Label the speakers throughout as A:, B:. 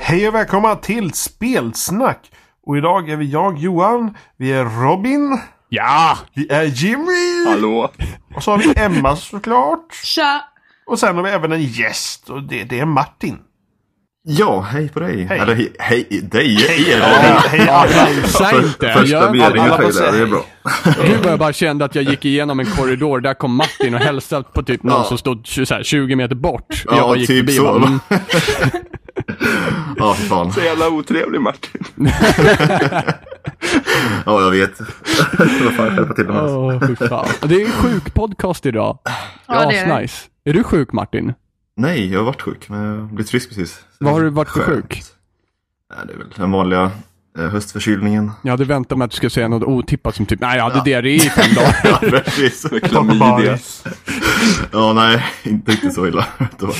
A: Hej och välkomna till Spelsnack! Och idag är vi jag Johan, vi är Robin,
B: Ja!
A: vi är Jimmy
C: Hallå?
A: och så har vi Emma såklart.
D: Tja!
A: Och sen har vi även en gäst och det, det är Martin.
C: Ja, hej på dig.
A: Hej.
C: Eller he- hej dig. er.
A: Hej alla!
B: Säg inte!
C: Första
B: Jag,
C: meningen
A: alla får
C: fel där, det
A: säga
C: är bra.
B: nu bara jag bara kände att jag gick igenom en korridor, där kom Martin och hälsade på typ någon
C: Ja.
B: som stod tj- så här, 20 meter bort.
C: Ja,
B: jag bara gick
C: typ
B: förbi
C: så,
B: och bara,
C: va?
B: mm.
C: Ja, fy fan.
E: Så jävla otrevlig Martin.
C: Ja, jag vet. Vad fan, jag hjälpa till med det.
B: Åh, fy fan. Det är en sjuk podcast idag.
D: Ja, det är det.
B: nice. Är du sjuk Martin?
C: Nej, jag har varit sjuk. Men jag blev frisk precis.
B: Vad har du varit för
C: Skönt.
B: sjuk?
C: Nej, det är väl den vanliga eh, höstförkylningen.
B: Jag hade väntat mig att du skulle säga något otippat som typ, nej jag hade diarré i fem dagar.
C: Ja, precis.
E: Med klamydia.
C: Ja, nej, inte riktigt så illa. Det, var-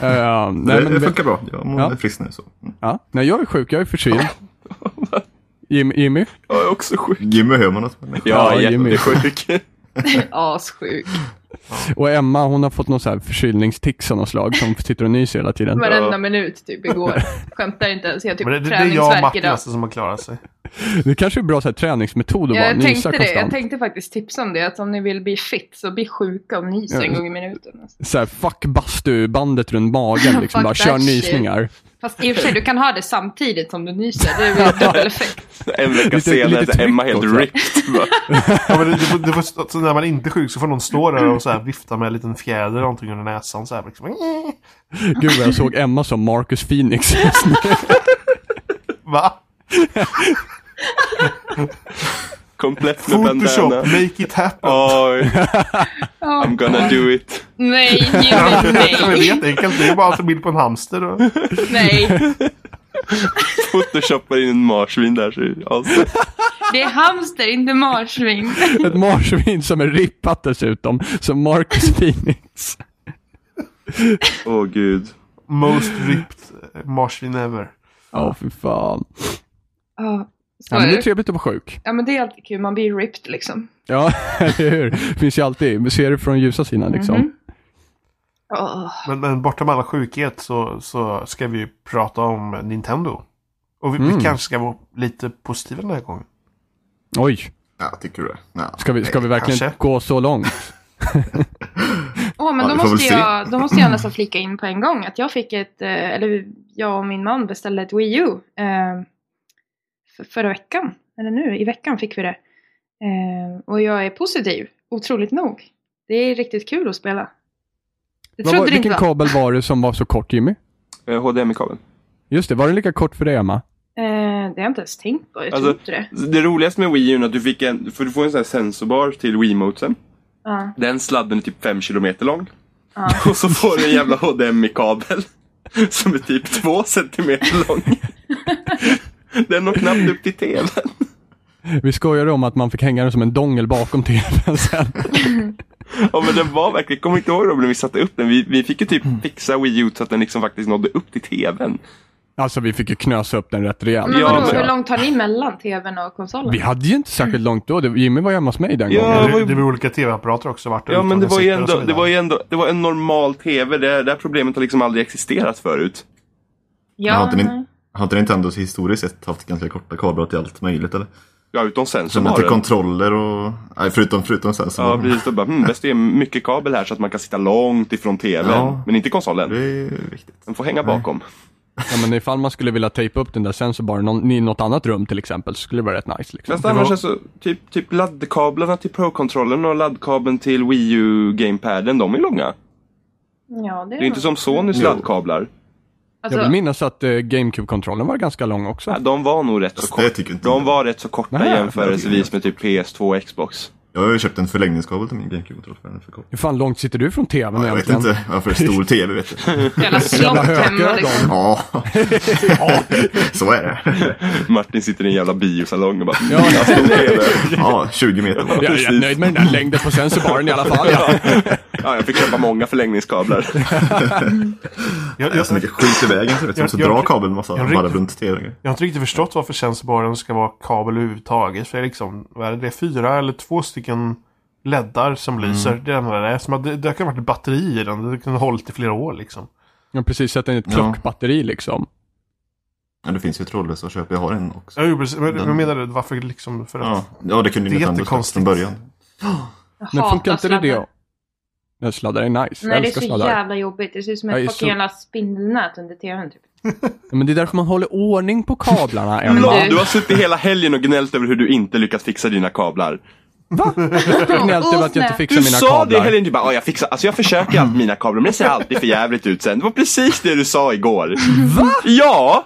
B: Eh, nej, men,
C: det funkar bra. Jag mår
B: Ja.
C: frisk nu. Så. Mm.
B: ja. nej, jag är sjuk, jag är förkyld. Jim, Jimmy?
E: Jag är också sjuk.
C: Jimmy hör man något.
B: Ja,
E: Ja,
B: Jimmy.
E: jättesjuk.
D: Assjuk.
B: Och Emma, hon har fått någon så här förkylningstics av något slag som sitter och nyser hela tiden.
D: Varenda
E: Ja.
D: minut typ igår. Skämtar inte ens. Jag har typ
A: Men det, det, det är jag och
D: träningsvärk
A: Martin
D: idag.
A: alltså som har klarat sig.
B: Det kanske är bra så här, träningsmetod att
D: Ja,
B: bara
D: jag
B: nysa
D: tänkte
B: konstant.
D: det. Jag tänkte faktiskt tipsa om det. Att om ni vill bli fit så bli sjuka och nys
B: Ja.
D: en gång i minuten. Alltså.
B: Så här, fuck bastubandet runt magen liksom.
D: Fuck
B: bara
D: that
B: kör
D: shit.
B: nysningar.
D: Fast i och för sig, du kan ha det samtidigt som du nyser. Det blir dubbel effekt.
E: En vecka
B: Lite-
E: senare
B: lite
E: så är Emma
B: tryck
E: helt
B: också.
E: ripped. Bara,
A: Ja, men det, det, får- det, får- så när man inte är sjuk så får någon stå där och så här vifta med en liten fjäder eller någonting under näsan så här liksom.
B: Gud vad jag såg Emma som Marcus Phoenix.
A: Va?
E: Komplett med
A: Photoshop,
E: bandana.
A: make it happen!
E: Oj,
D: Ja.
E: I'm gonna do it.
D: Nej,
A: Ja,
D: Jimmy,
A: det är
D: nej.
A: jätteenkelt. Det är bara att ta bild på en hamster. Och...
D: nej.
E: Photoshoppar in en marsvin där. Så, alltså,
D: Det är hamster, inte marsvin.
B: Ett marsvin som är rippat dessutom. Som Marcus Phoenix.
E: åh gud.
A: Most ripped eh, marsvin ever.
B: Ja, fy fan.
D: Ja, så
B: Ja, men
D: är
B: det är
D: det.
B: trevligt att vara sjuk.
D: Ja, men det är alltid kul. Man blir ripped liksom.
B: Ja, eller hur? Finns ju alltid. Ser det från ljusa sidan liksom.
D: Mhm. Åh.
A: Men, men bortom alla sjukhet så, så ska vi ju prata om Nintendo. Och vi,
B: Mm.
A: vi kanske ska vara lite positiva den här gången.
B: Oj,
C: Ja, tycker du det? Ja.
B: ska vi, ska vi verkligen
A: kanske.
B: gå så långt?
D: Åh, men
C: Ja,
D: då,
C: vi får väl
D: måste
C: se.
D: jag, då måste jag nästan flika in på en gång att jag fick ett, eh, eller jag och min man beställde ett Wii U eh, för, förra veckan, eller nu i veckan fick vi det. Eh, och jag är positiv, otroligt nog. Det är riktigt kul att spela. Det
B: Vad var,
D: trodde du inte
B: vilken
D: va?
B: kabel var det som var så kort Jimmy?
E: Eh, HDMI-kabeln.
B: Just det, var den lika kort för dig Emma?
D: Eh, det har jag inte ens tänkt på, jag
E: Alltså-
D: tror inte det.
E: Det roligaste med Wii U är att du fick en, för du får en sån här sensorbar till Wiimoten.
D: Ja,
E: Den sladden är typ 5 km lång.
D: ja.
E: Och så får du en jävla HDMI-kabel. Som är typ 2 cm lång. Den når knappt upp till tvn.
B: Vi skojade om att man fick hänga den som en dongel bakom tvn sen.
E: Ja men den var verkligen, kommer inte ihåg Robin, vi satte upp den. Vi, vi fick ju typ fixa Wii U så att den liksom faktiskt nådde upp till tvn.
B: Alltså vi fick ju knösa upp den rätt rejält.
D: Men
E: Ja,
D: vadå,
E: men-
D: hur långt har ni mellan tvn och konsolen?
B: Vi hade ju inte särskilt långt då. Det- Jimmy var ju hemma hos mig den
E: Ja,
B: gången.
A: det,
E: det var ju-
A: det blir olika tv-apparater också. Vart
E: Ja men det var ju
A: uttagen sitter
E: ändå,
A: och så
E: det var
A: vidare.
E: ju ändå, det var en normal tv. Det, det här problemet har liksom aldrig existerat förut.
D: ja,
C: Men har inte
D: nej.
C: ni- Har inte Nintendo historiskt sett haft ganska korta kablar till allt möjligt eller?
E: Ja utom sen så
C: Som
E: var
C: till
E: det.
C: kontroller och... Nej, förutom, förutom sen så
E: Ja
C: var det-
E: precis, då bara hmm, bäst det är mycket kabel här så att man kan sitta långt ifrån tvn.
C: Ja.
E: Men inte konsolen.
C: Det är viktigt.
E: Den får hänga bakom.
B: Ja, men ifall man skulle vilja tejpa upp den där sen så bara någon, i något annat rum till exempel så skulle det vara rätt nice. Liksom.
E: Fast annars alltså, typ, typ laddkablarna till Pro-kontrollen och laddkabeln till Wii U-gamepaden, de är långa.
D: Ja, det är
E: Det är inte
D: nog-
E: som Sonys
C: Jo.
E: laddkablar.
D: alltså,
B: Jag vill minnas att eh, GameCube-kontrollen var ganska lång också.
E: Ja, De var nog rätt så
C: Alltså, Det
E: korta.
C: tycker inte
E: De
C: jag.
E: var rätt så korta
B: Nej,
E: jämförelsevis med typ PS2 och Xbox.
C: Jag har ju köpt en förlängningskabel till min GameCube-kontroll för den är för kort.
B: Hur fan långt sitter du från tvn
C: Jag vet inte, jag har för stor TV vet du.
D: Alltså, Jävla slott hemma
B: hökögon.
D: liksom.
C: Ja, så är det.
E: Martin sitter i en jävla biosalong och bara
B: Ja,
C: Ja, 20 meter bara.
B: jag är rätt nöjd med den där längden på sensorbaren i alla fall. Ja.
E: ja. ja, jag fick köpa många förlängningskablar.
A: Jag,
C: Det är så
A: jag,
C: mycket skit i vägen så vet du.
A: Jag-
C: Så
A: jag-
C: dra kabeln massa
A: jag ryck-
C: varv runt TVn.
A: jag har inte riktigt förstått varför sensorborren ska vara kabel överhuvudtaget. För det är liksom, vad är det, fyra eller två stycken
E: Mm.
A: leddar som lyser. Det är det enda det är. Som att det, det kan ha varit ett batteri i den. Det kan ha hållit i flera år liksom.
B: Ja, precis. Sätta in ett
C: Ja.
B: klockbatteri liksom.
C: Men det finns ju trådlösa att köpa. Jag har en också.
A: Ja, jo, precis. Men,
C: Den-
A: men menar du varför liksom för att...
C: Ja, ja det kunde
A: Det är
C: ju Nintendo släppt
A: jättekonstigt.
C: från början.
D: Jag
B: Men
D: hatar
B: funkar inte det
D: sladdar.
B: det? Nej, sladdar är nice.
D: Nej,
B: jag
D: det är
B: älskar
D: så
B: sladdar.
D: jävla jobbigt. Det ser ut som
B: Jag är
D: ett
B: så-
D: fucking jävla spindelnät under tvn typ.
B: Ja, Men det är därför man håller ordning på kablarna,
D: Men
B: Emma.
D: det-
E: Du har suttit hela helgen och gnällt över hur du inte lyckats fixa dina kablar.
B: Jag har
D: Oh,
B: gnällt över att jag inte
E: Du
B: fixar mina
E: sa det
B: kablar.
E: helgen, du bara "Ja, jag fixar, alltså jag försöker allt med mina kablar men det ser alltid för jävligt ut sen. Det var precis det du sa igår. Va? Ja!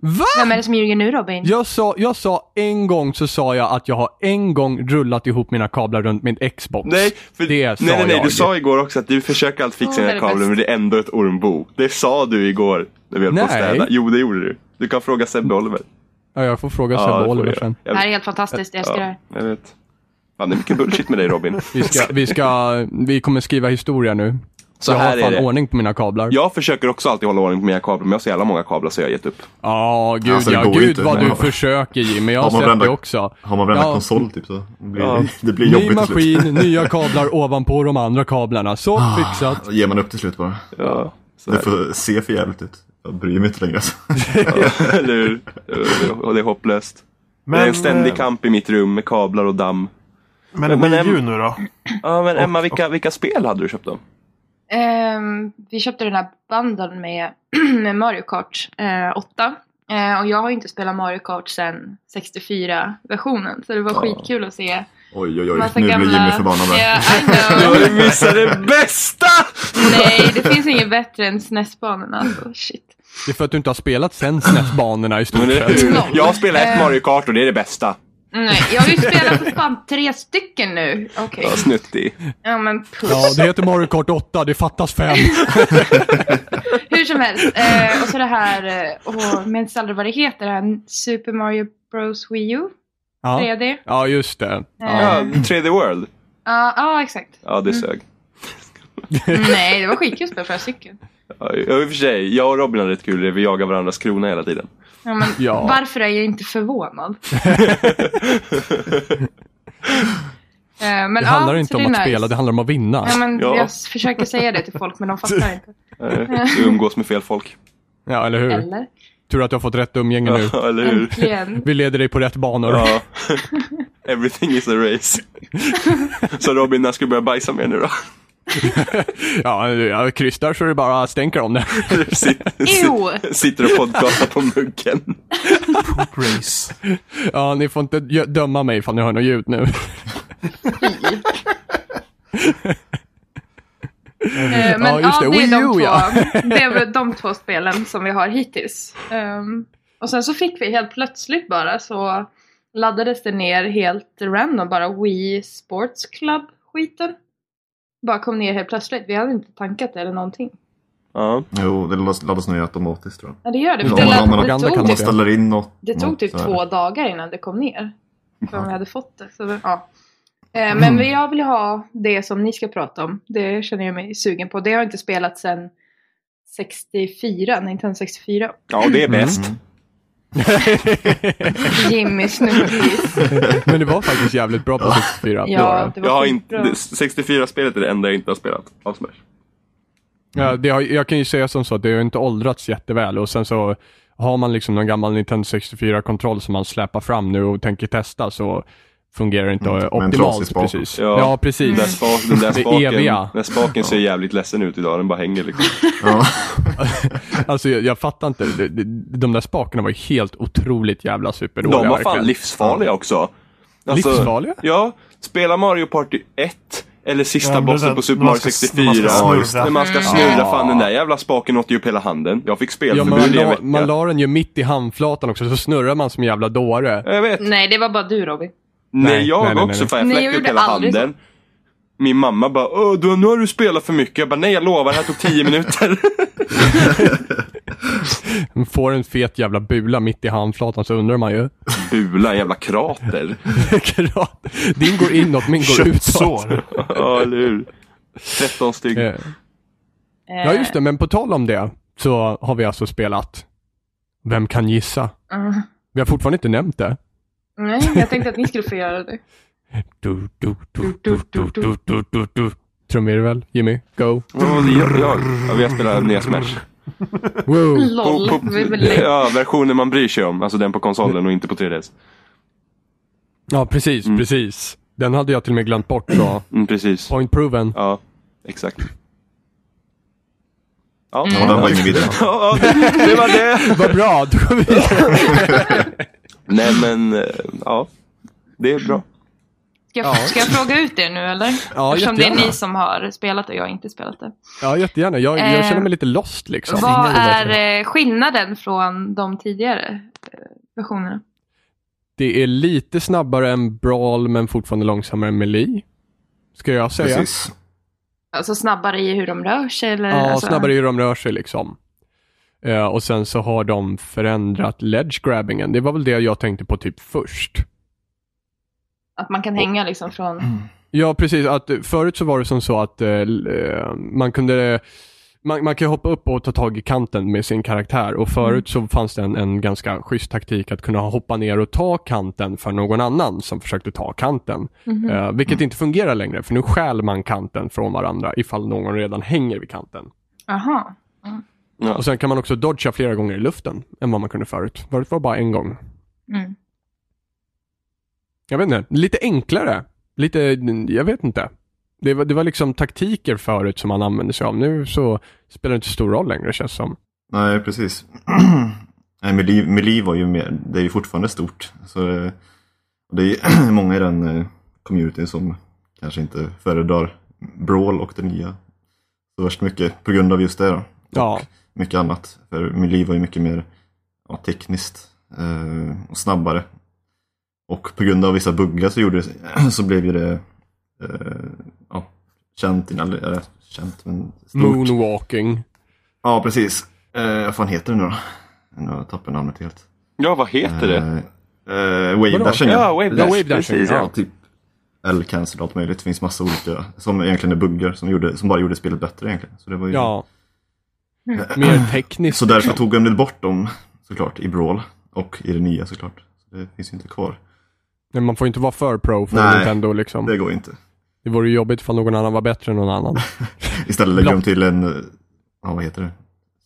B: Va?
D: Vem är det som ljuger nu Robin?
B: Jag sa, jag sa en gång så sa jag att jag har en gång rullat ihop mina kablar runt min Xbox.
E: Nej, för,
B: det sa
E: nej, nej, nej,
B: jag.
E: du sa igår också att du försöker allt
D: Åh,
E: fixa
D: det är
E: dina
D: det
E: kablar
D: bästa.
E: men det är ändå ett ormbo. Det sa du igår när vi höll på att
B: Nej.
E: städa. Jo, det gjorde du. Du kan fråga Sebbe Oliver.
B: Ja, jag får fråga
E: det får
B: Sebbe
E: du
B: Oliver
E: göra.
B: sen.
D: Det
E: Jag
D: här är
E: vet.
D: helt fantastiskt, jag älskar det
E: Ja,
D: här.
E: jag vet. Fan, det är mycket bullshit med dig Robin.
B: Vi, ska, vi, ska, vi kommer skriva historia nu.
E: Så
B: jag
E: här
B: har
E: är
B: fan
E: det.
B: ordning på mina kablar. Ja,
E: Jag försöker också alltid hålla ordning på mina kablar men jag har så jävla många kablar så jag har gett upp.
B: gud,
C: Alltså, det
B: ja,
C: går
B: gud
C: inte.
B: vad du
C: Nej.
B: försöker Jimmy. Jag har
C: Har man
B: sett
C: varenda-
B: det också.
C: Har man varenda
B: Ja.
C: konsol typ så blir,
E: Ja.
C: det blir
B: Ny
C: jobbigt till slut. Ah.
B: maskin, nya kablar ovanpå de andra kablarna. Så fixat.
C: Då ger man upp till slut bara.
E: Ja, så
C: Det
E: här.
C: får se för jävligt ut. Jag bryr mig inte längre alltså.
E: Eller hur? Och det är hopplöst.
A: Men,
E: det är en ständig
A: eh,
E: kamp i mitt rum med kablar och damm.
A: Men
E: Men-
A: Wii U nu då?
E: Ja men Emma, vilka, vilka spel hade du köpt då?
D: Ehm, vi köpte den här bundlen med, med Mario Kart eh, 8. Eh, och jag har ju inte spelat Mario Kart sedan 64-versionen. Så det var
C: Ja.
D: skitkul att se
C: Oj, oj, oj.
D: massa
C: nu
D: gamla...
C: blir Jimmy förbannad. där.
D: Ja, I know.
E: Du missade det bästa!
D: Nej, det finns inget bättre än SNES-banorna. Alltså, shit.
B: Det är för att du inte har spelat sen SNES-banorna i stort
E: Men det är Eh.
B: sett.
E: hur? Jag har spelat ett Mario Kart och det är det bästa.
D: Nej, jag har ju spelat för fan tre stycken nu. Okej.
E: Ja, snuttig.
D: Ja, men puss.
B: Ja, det heter Mario Kart 8, det fattas fem.
D: Hur som helst. Eh, och så det här, eh, åh, minns aldrig vad det heter, det här Super Mario Bros Wii U
B: Ja,
D: 3D. Eh,
B: ja just det. Ja.
E: Ja, Mm. 3D World.
D: Ja, ja, exakt.
E: Ja, det sög.
D: Nej, det var skitkul spel för jag cykeln.
E: Ja, i och för sig, jag och Robin hade rätt kul i det. Vi jagar varandras krona hela tiden.
D: Ja, men
B: Ja.
D: Varför är jag inte förvånad? Eh, men,
B: Det handlar
D: ja,
B: inte
D: så
B: om
D: det
B: att
D: är nice.
B: spela, det handlar om att vinna.
D: Ja, men
E: Ja.
D: Jag s- försöker säga det till folk, men de fattar inte.
E: Eh, Du umgås med fel folk.
B: Ja, eller hur?
D: Eller?
B: Tur att jag har fått rätt umgänge nu.
E: Ja, eller hur?
D: Äntligen.
B: Vi leder dig på rätt banor.
E: Ja. Everything is a race. Så Robin, när ska du börja bajsa mer nu då?
B: Ja, jag krystar så det bara stänker om det.
E: Sitter,
D: Ew.
E: sitter och podcastar på muggen.
A: Race.
B: Ja, ni får inte gö- döma mig ifall ni hör något ljud nu.
D: Eh, men
B: Ja, just det.
D: ja, det är
B: Wii
D: de
B: U,
D: två,
B: ja.
D: det är väl de två spelen som vi har hittills. Ehm, och sen så fick vi helt plötsligt bara så laddades det ner helt random bara Wii Sports Club-skiten. Bara kom ner helt plötsligt. Vi hade inte tankat det eller någonting.
E: Ja.
C: Jo, det laddas, laddas ner automatiskt tror jag.
D: Ja det gör det.
C: Ja,
D: För det,
C: man-
D: lät-
C: man-
D: det,
B: propaganda
D: tog,
B: kan
C: Man
B: man-
D: typ,
C: ställer in något.
D: det tog
C: något
D: typ
C: så här.
D: två dagar innan det kom ner. Förrän vi
C: Ja.
D: hade fått det. Så, det- ja. Eh, Men vi- jag vill ha det som ni ska prata om. Det känner jag mig sugen på. Det har jag inte spelat sedan 64, Nintendo 64.
E: Ja, det är bäst.
C: Mm.
D: Jimmy Snubbis.
B: Men det var faktiskt jävligt bra på 64. det var
D: Ja,
B: det.
D: det var
E: Jag har
D: skitbra.
E: inte, 64-spelet är det enda jag inte har spelat av Smash.
B: Ja, det har, jag kan ju säga som så att det har inte åldrats jätteväl och sen så har man liksom någon gammal Nintendo 64-kontroll som man släpar fram nu och tänker testa så fungerar det inte eh,
C: en trasig
B: optimalt
C: spak.
B: precis.
E: Ja.
B: Ja, precis.
E: Den, spak, den där
B: Det
E: spaken,
B: eviga.
E: den spaken ser jävligt ledsen ut idag, den bara hänger liksom.
C: Ja.
B: Alltså jag, jag fattar inte. De, de, de där spakarna var ju helt otroligt jävla superdåliga.
E: De var fan
B: verkligen.
E: livsfarliga också. Alltså,
B: Livsfarliga?
E: Ja, spela Mario Party 1 eller sista
A: Ja, men
E: bossen
A: den-
E: på Super
A: när man
E: Mario
A: ska-
E: 64.
A: när man ska
E: Ja,
A: snurra.
E: just det. När man ska snurra,
B: Mm. Ja.
E: fan den där jävla spaken åt ju upp hela handen. Jag fick
B: Ja,
E: spelförbud
B: man,
E: i en
B: la,
E: vecka.
B: man la den ju mitt i handflatan också, så snurrar man som en jävla dåre.
E: Jag vet. Nej,
D: Nej, det var bara du Robin.
E: jag
B: nej, nej,
E: också
B: nej.
E: för jag
D: Nej, jag
E: fläckte upp
D: gjorde
E: hela
D: aldrig så.
E: handen. Min mamma bara Åh, du, nu har du spelat för mycket. Jag bara nej jag lovar, det här tog 10 minuter.
B: Man får en fet jävla bula mitt i handflatan så undrar man ju.
E: Bula, jävla krater.
B: Din går inåt, min går utåt.
A: Köttsår.
E: Ja, eller hur. 13 stygg.
B: Eh,
D: Eh,
B: Ja just det, men på tal om det så har vi alltså spelat Vem kan gissa?
D: Mm.
B: Vi har fortfarande inte nämnt det.
D: Nej, jag tänkte att ni skulle få göra det.
B: Du, du, du, du, du, du, du, du, du. Trumvirvel, Jimmy, go.
E: Ja, det gör jag. Ja, vi har spelat nya Smash.
B: Wow.
D: LOL.
E: På, på,
D: Det är väl länge.
E: ja, versionen man bryr sig om. Alltså den på konsolen och inte på 3DS.
B: Ja, precis,
E: Mm.
B: precis. Den hade jag till och med glömt bort. Så.
E: Mm, precis.
B: Point proven.
E: Ja, exakt. Ja,
B: Mm.
C: Ja, den var ingen vidare.
E: ja det, det var det.
B: Vad bra, då går vi vidare.
E: Nej men, eh, ja. Det är bra.
D: Ska jag, ska jag fråga ut er nu eller?
B: Ja,
D: Eftersom det är
B: jättegärna.
D: ni som har spelat och jag har inte spelat det.
B: Ja, jättegärna. Jag, jag
D: Eh,
B: känner mig lite lost liksom.
D: Vad är eh, skillnaden från de tidigare eh, versionerna?
B: Det är lite snabbare än Brawl, men fortfarande långsammare än Melee. Ska jag säga.
C: Precis.
D: Alltså snabbare i hur de rör sig eller?
B: Ja,
D: alltså,
B: snabbare ju de rör sig liksom. Eh, och sen så har de förändrat ledge grabbingen. Det var väl det jag tänkte på typ först.
D: Att man kan hänga liksom från...
B: Mm. Ja, precis. Att, eh, förut så var det som så att eh, l- eh, man kunde man, man kan hoppa upp och ta tag i kanten med sin karaktär och förut så fanns det en, en ganska schysst taktik att kunna hoppa ner och ta kanten för någon annan som försökte ta kanten. Eh, vilket inte fungerar längre för nu stjäl man kanten från varandra ifall någon redan hänger vid kanten.
D: Aha.
E: Ja.
B: Och sen kan man också dodga flera gånger i luften än vad man kunde förut. Förut var det bara en gång.
D: Mm.
B: Jag vet inte, lite enklare. Lite, jag vet inte. Det var, det var liksom taktiker förut som man använde sig av. Nu så spelar det inte så stor roll längre känns det som.
C: Nej, precis. Nej, Melee, Melee var ju mer, det är ju fortfarande stort. Så eh, det är många i den eh, communityn som kanske inte föredrar Brawl och det nya. Så värst mycket på grund av just det då.
B: Ja.
C: Mycket annat. För Melee var ju mycket mer ja, tekniskt eh, och snabbare. Och på grund av vissa buggar så, gjorde det, så blev ju det eh, ja, känt, eller, eller känt men stort.
B: Moonwalking.
C: Ja, precis. Eh, vad fan heter den nu då? Nu har jag tappat namnet helt.
E: Ja, vad heter det?
C: Eh, eh, Wavedashen,
E: Ja,
C: ja.
E: Wavedash.
B: Wave Dash,
E: Precis,
B: ja.
E: ja.
C: Typ L-cancel och allt möjligt. Det finns massa olika som egentligen är buggar som, gjorde, som bara gjorde spelet bättre egentligen. Så det var ju...
B: Ja. Mer tekniskt.
C: Så därför tog de bort dem såklart i Brawl och i det nya såklart. Så det finns ju inte kvar.
B: Men man får inte vara för pro för
C: Nej.
B: Nintendo liksom.
C: Det
B: Det...
C: går ju inte.
B: vore ju jobbigt ifall någon annan var bättre än någon annan.
C: Istället lägger de
B: Block.
C: till en, eh, ja vad heter det?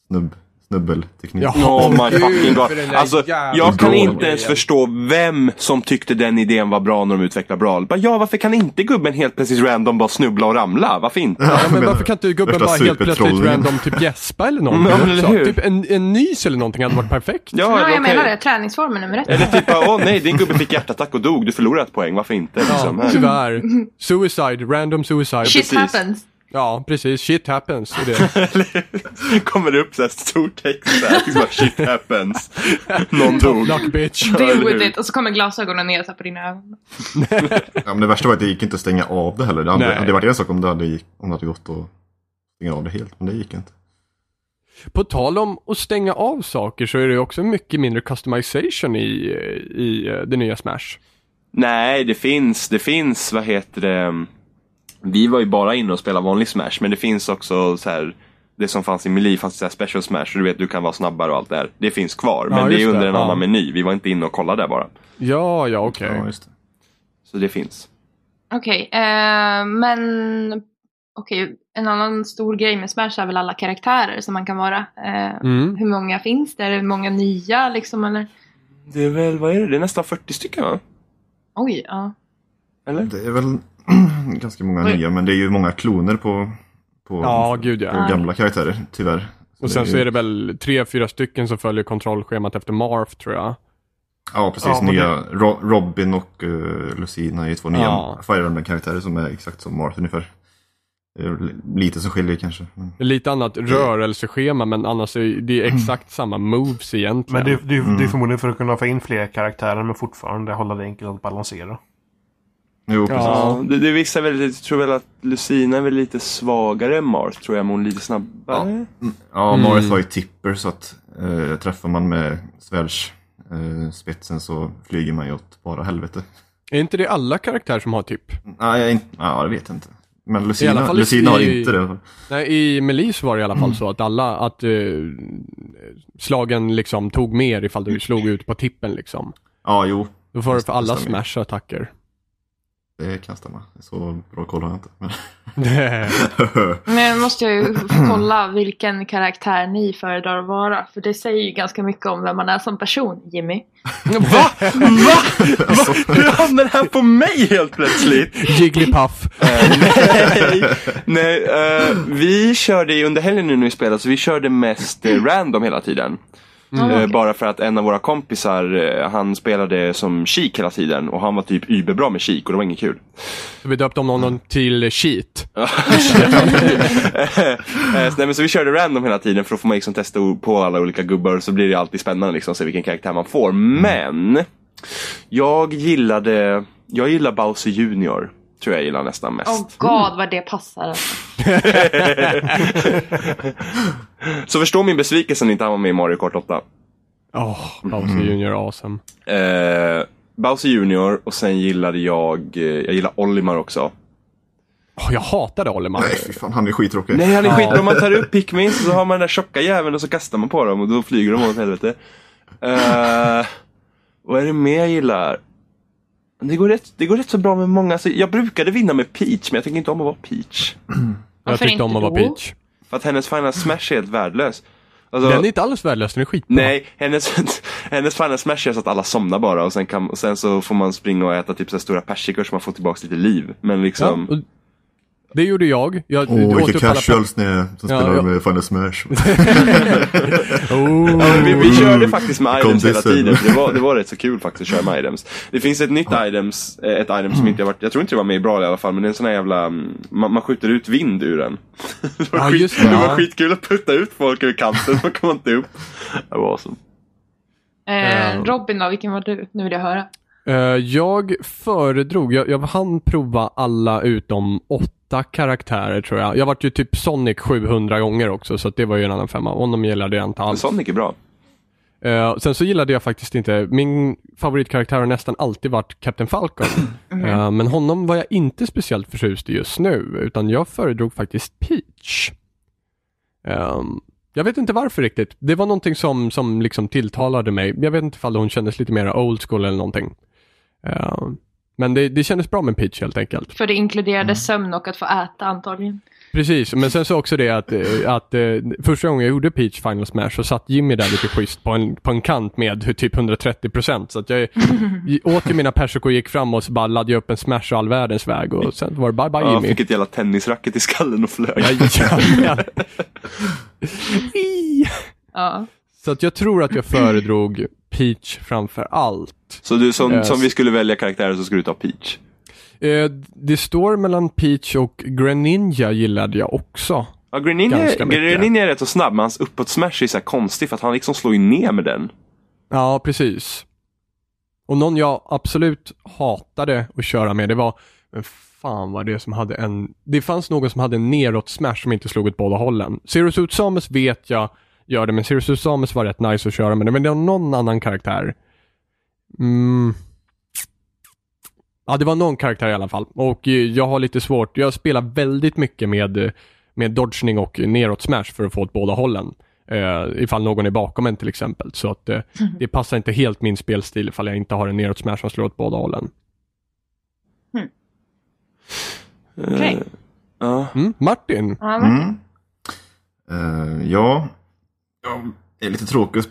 C: Snubb, snubbelteknik.
B: Ja.
E: Oh my
B: Gud,
E: fucking god.
B: för den där
E: Alltså,
B: jävla
E: jag kan
C: bra
E: inte ens
B: grejen.
E: förstå vem som tyckte den idén var bra när de utvecklade Brawl. Bara, ja, varför kan inte gubben helt plötsligt random bara snubbla och ramla? Varför inte?
B: Ja, men varför kan inte gubben
C: Värsta
B: bara helt plötsligt
C: supertrollningen.
B: random typ gäspa eller någonting?
E: Ja, men eller
B: också?
E: hur?
B: Typ en, en nys eller någonting hade varit perfekt.
E: Ja,
D: Ja,
E: okej.
D: jag menar det. Träningsformen nummer ett.
E: Eller typ, bara, åh nej, din gubbe fick hjärtattack och dog. Du förlorade ett poäng. Varför inte? Liksom.
B: Ja,
E: Här.
B: tyvärr. Suicide, random suicide.
D: Shit
E: precis.
D: happens.
B: Ja, precis. Shit happens. är Det.
E: Kommer det upp så här stor text där. Liksom, bara, Shit happens. Någon dog.
B: Luck bitch.
D: Deal
E: eller
D: with
E: hur?
D: it. Och så kommer glasögonen ner så här på dina ögon.
C: Ja, men det värsta var att det gick inte att stänga av det heller. Det hade,
B: Nej.
C: det hade varit en sak om det hade, gick- om det hade gått att stänga av det helt, men det gick inte.
B: På tal om att stänga av saker så är det också mycket mindre customization i, i eh, det nya Smash.
E: Nej, det finns, det finns, vad heter det? Vi var ju bara inne och spelade vanlig Smash, men det finns också så här. Det som fanns i Melee fanns så här special Smash, så du vet du kan vara snabbare och allt det här. Det finns kvar, men
B: Ja,
E: det är
B: just
E: under
B: det,
E: en
B: ja.
E: annan meny. Vi var inte inne och kollade där bara.
B: Ja, ja, okej.
C: Ja, just det.
E: Så det finns.
D: Okej, eh, men... Okej, en annan stor grej med Smash är väl alla karaktärer som man kan vara. Eh,
B: Mm.
D: Hur många finns det? Är det många nya liksom eller?
E: Det är väl, vad är det? Det är nästan 40 stycken va?
D: Oj, ja.
E: Eller?
C: Det är väl ganska många
D: Oj.
C: nya, men det är ju många kloner på, på,
B: Ja, gud
C: på
B: ja.
C: gamla karaktärer, tyvärr.
B: Och sen
C: ju-
B: så är det väl tre, fyra stycken som följer kontrollschemat efter Marth tror jag.
C: Ja, precis.
A: Ja, men
C: nya Ro- Robin och eh, Lucina är ju två nya
B: Ja.
C: Fire Emblem-karaktärer som är exakt som Marth ungefär. Det är li- Lite som skiljer kanske. Men...
B: Det är Lite annat rörelseschema men annars är det exakt samma moves
A: Men
B: egentligen.
A: det, det, det är
C: Mm.
A: förmodligen för att kunna få in fler karaktärer men fortfarande hålla det enkelt att balansera.
C: Jo, precis.
B: Ja.
E: Ja, det, det vissa väl, jag tror väl att Lucina är väl lite svagare än Mars, tror jag, men hon är lite snabbare.
C: Ja,
B: Mm.
C: Marth har ju tipper så att eh, träffar man med svärdsspetsen eh, spetsen så flyger man ju åt bara helvete.
B: Är inte det alla karaktärer som har typ?
C: Nej, jag, inte- ja, det vet jag inte. Men
B: I alla
C: Lucina,
B: fall
C: Lucina har
B: i-
C: inte det. i alla fall.
B: Nej, i Melee så var det i alla fall så att alla, att eh, slagen liksom tog mer ifall du slog ut på tippen liksom.
C: Ja, jo.
B: Då var det för alla
C: Stämmer.
B: smash-attacker.
C: Det kan stämma. Så bra koll har jag inte. Men...
D: Men nu måste jag ju kolla vilken karaktär ni föredrar att vara. För det säger ju ganska mycket om vem man är som person, Jimmy.
B: Va?
E: Va? Va? Hur hamnar det här på mig helt plötsligt?
B: Jigglypuff.
E: Eh, nej, nej eh, vi körde ju under helgen nu när vi spelade, så vi körde mest eh, random hela tiden.
D: Mm.
E: Eh,
D: Okej.
E: Bara för att en av våra kompisar, eh, han spelade som Sheik hela tiden och han var typ überbra med Sheik och det var inget kul.
B: Så vi döpte om honom till Sheet.
E: Eh, så, nej, men så vi körde random hela tiden för att få man liksom testa o- på alla olika gubbar så blir det alltid spännande liksom, att se vilken karaktär man får. Men jag gillade, jag gillar Bowser Junior. Tror jag gillar nästan mest.
D: Åh oh god vad det passar. alltså.
E: Så förstå min besvikelse när inte han var med i Mario Kart 8.
B: Åh, Bowser Junior awesome.
E: Eh, Bowser Junior och sen gillade jag, eh, jag gillar Olimar också.
B: Åh, jag hatade Olimar.
C: Nej, fy fan, han är skittråkig.
E: Nej han är
B: Ja.
E: skit, om man tar upp Pikmin så har man den där tjocka jäveln och så kastar man på dem och då flyger de åt helvete. Eh, vad är det mer jag gillar? Det går, rätt, det går rätt så bra med många. Alltså, jag brukade vinna med Peach men jag tycker inte om att vara Peach.
B: Jag
D: Varför
B: tyckte om
D: inte
B: att vara
D: då?
B: Peach.
E: För att hennes Final Smash är helt värdelös. Alltså-
B: Den är inte alls värdelös, den är skitbra.
E: Nej, hennes, hennes final smash är så att alla somnar bara och sen, kan, och sen så får man springa och äta typ så här stora persikor så man får tillbaka lite liv. Men
B: Ja,
E: liksom,
B: och det gjorde jag. jag
C: Åh, vilka
B: återuppallade-
C: casuals ni är som
B: Ja,
C: spelar
B: ja.
C: med Final Smash.
B: Oh.
E: Ja, men vi, vi körde faktiskt med items hela
C: Kompisen.
E: tiden. för Det var, det var rätt så kul faktiskt att köra med items. Det finns ett nytt items, eh, ett item som inte har varit, jag tror inte det var med i bra i alla fall, men det är en sån här jävla, mm, man, man skjuter ut vind ur den. Det var,
B: Ja,
E: skit,
B: just
E: det,
B: det, ja.
E: var skitkul att putta ut folk ur kanten, man kom inte upp. Det var awesome.
B: Ja.
D: Eh, Robin då, vilken var du? Nu vill jag höra.
B: Eh, jag föredrog, jag, jag hann prova alla utom åtta karaktärer tror jag. Jag vart ju typ Sonic 700 gånger också så att det var ju en annan femma. Honom gillade jag inte
E: Men
B: alls.
E: Sonic är bra.
B: Eh, sen så gillade jag faktiskt inte, min favoritkaraktär har nästan alltid varit Captain Falcon. Eh, men honom var jag inte speciellt förtjust i just nu, utan jag föredrog faktiskt Peach. Ehm, jag vet inte varför riktigt. Det var någonting som, som liksom tilltalade mig. Jag vet inte ifall hon kändes lite mer old school eller någonting. Ehm, men det, det kändes bra med Peach helt enkelt.
D: För det inkluderade sömn och att få äta antagligen.
B: eh, typ Eh,
E: liksom
B: Mm. eh, Eh,
E: Eh,
B: Mm,
C: mm. Eh, Eh, Mm. eh, Mm,
B: Eh,
C: Eh,
B: Eh,
C: Eh, eh, liksom. eh, är
E: Eh,
C: väl de två.
B: Ja,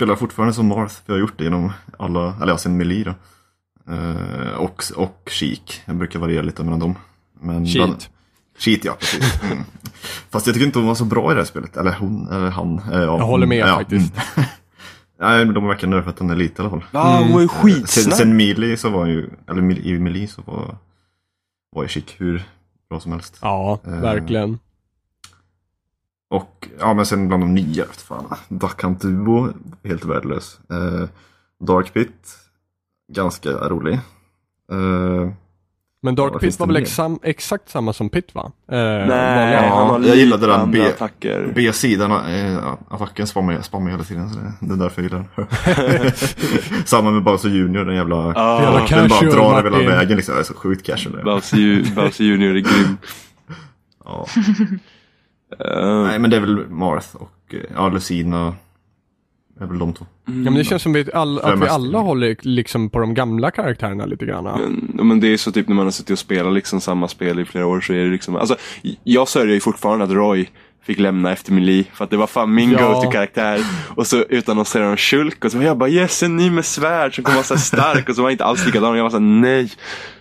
B: men det känns som vi all, att vi
C: mest-
B: alla håller liksom på de gamla karaktärerna lite grann.
E: Men, men det är så typ när man har suttit och spelat liksom samma spel i flera år så är det liksom. Alltså, jag sörjer ju fortfarande att Roy fick lämna efter Mili. För att det var fan min
B: Ja.
E: go-to-karaktär. Och så utannonserade de Shulk och så var jag bara yes, en ny med svärd som kommer vara så här stark. Och så var han inte alls likadan. Jag var såhär nej.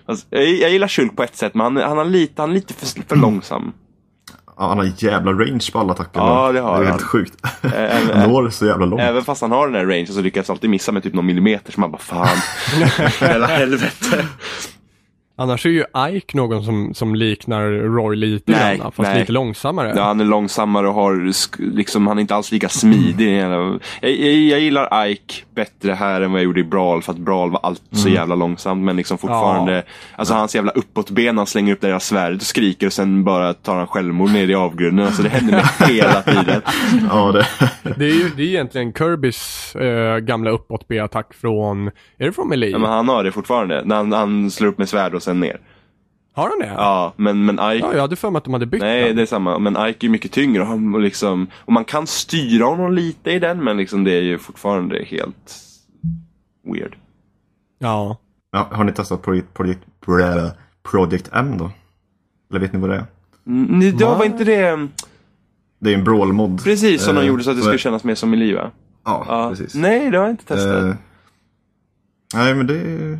E: Alltså, jag, jag gillar Shulk på ett sätt men han, han, är, lite, han är lite för, för långsam.
C: Ja, han har jävla range på alla attackerna.
E: Ja, det har
C: Det är
E: han.
C: helt sjukt.
E: Även,
C: Han når så jävla långt.
E: även fast han har den här rangen så lyckas han alltid missa med typ någon millimeter. Så man bara fan. Hela helvete.
B: Annars är ju Ike någon som, som liknar Roy lite
E: Nej,
B: grann, fast
E: nej.
B: lite långsammare.
E: Ja, han är långsammare och har sk- liksom, han är inte alls lika smidig. Jag, jag, jag gillar Ike bättre här än vad jag gjorde i Brawl för att Brawl var allt så jävla långsamt men liksom fortfarande Alltså hans jävla uppåtben, han slänger upp det där svärdet och skriker och sen bara tar han självmord ner i avgrunden. Alltså det händer mig hela tiden.
C: Ja, det...
B: Det är ju det är egentligen Kirbys eh, gamla uppåt B-attack från, är det från Melee?
E: Men han har det fortfarande. När han, han slår upp med svärd och sen ner.
B: Har han det?
E: Ja, men, men Ike
B: Ja, jag hade för mig att de hade bytt
E: Nej,
B: den.
E: det är samma. Men Ike är mycket tyngre och, han, och, liksom, och man kan styra honom lite i den men liksom, det är ju fortfarande helt weird.
B: Ja.
C: ja, har ni testat Project, Project, Bra- Project M då? Eller vet ni vad det är?
E: Mm, det
B: Va?
E: var inte det
C: Det är en brawl-mod.
E: precis som de gjorde så att det
C: Eh,
E: skulle kännas mer som i livet?
C: Ja,
E: Ja.
C: precis.
E: Nej, det har jag inte testat.
C: Eh, nej, men det är,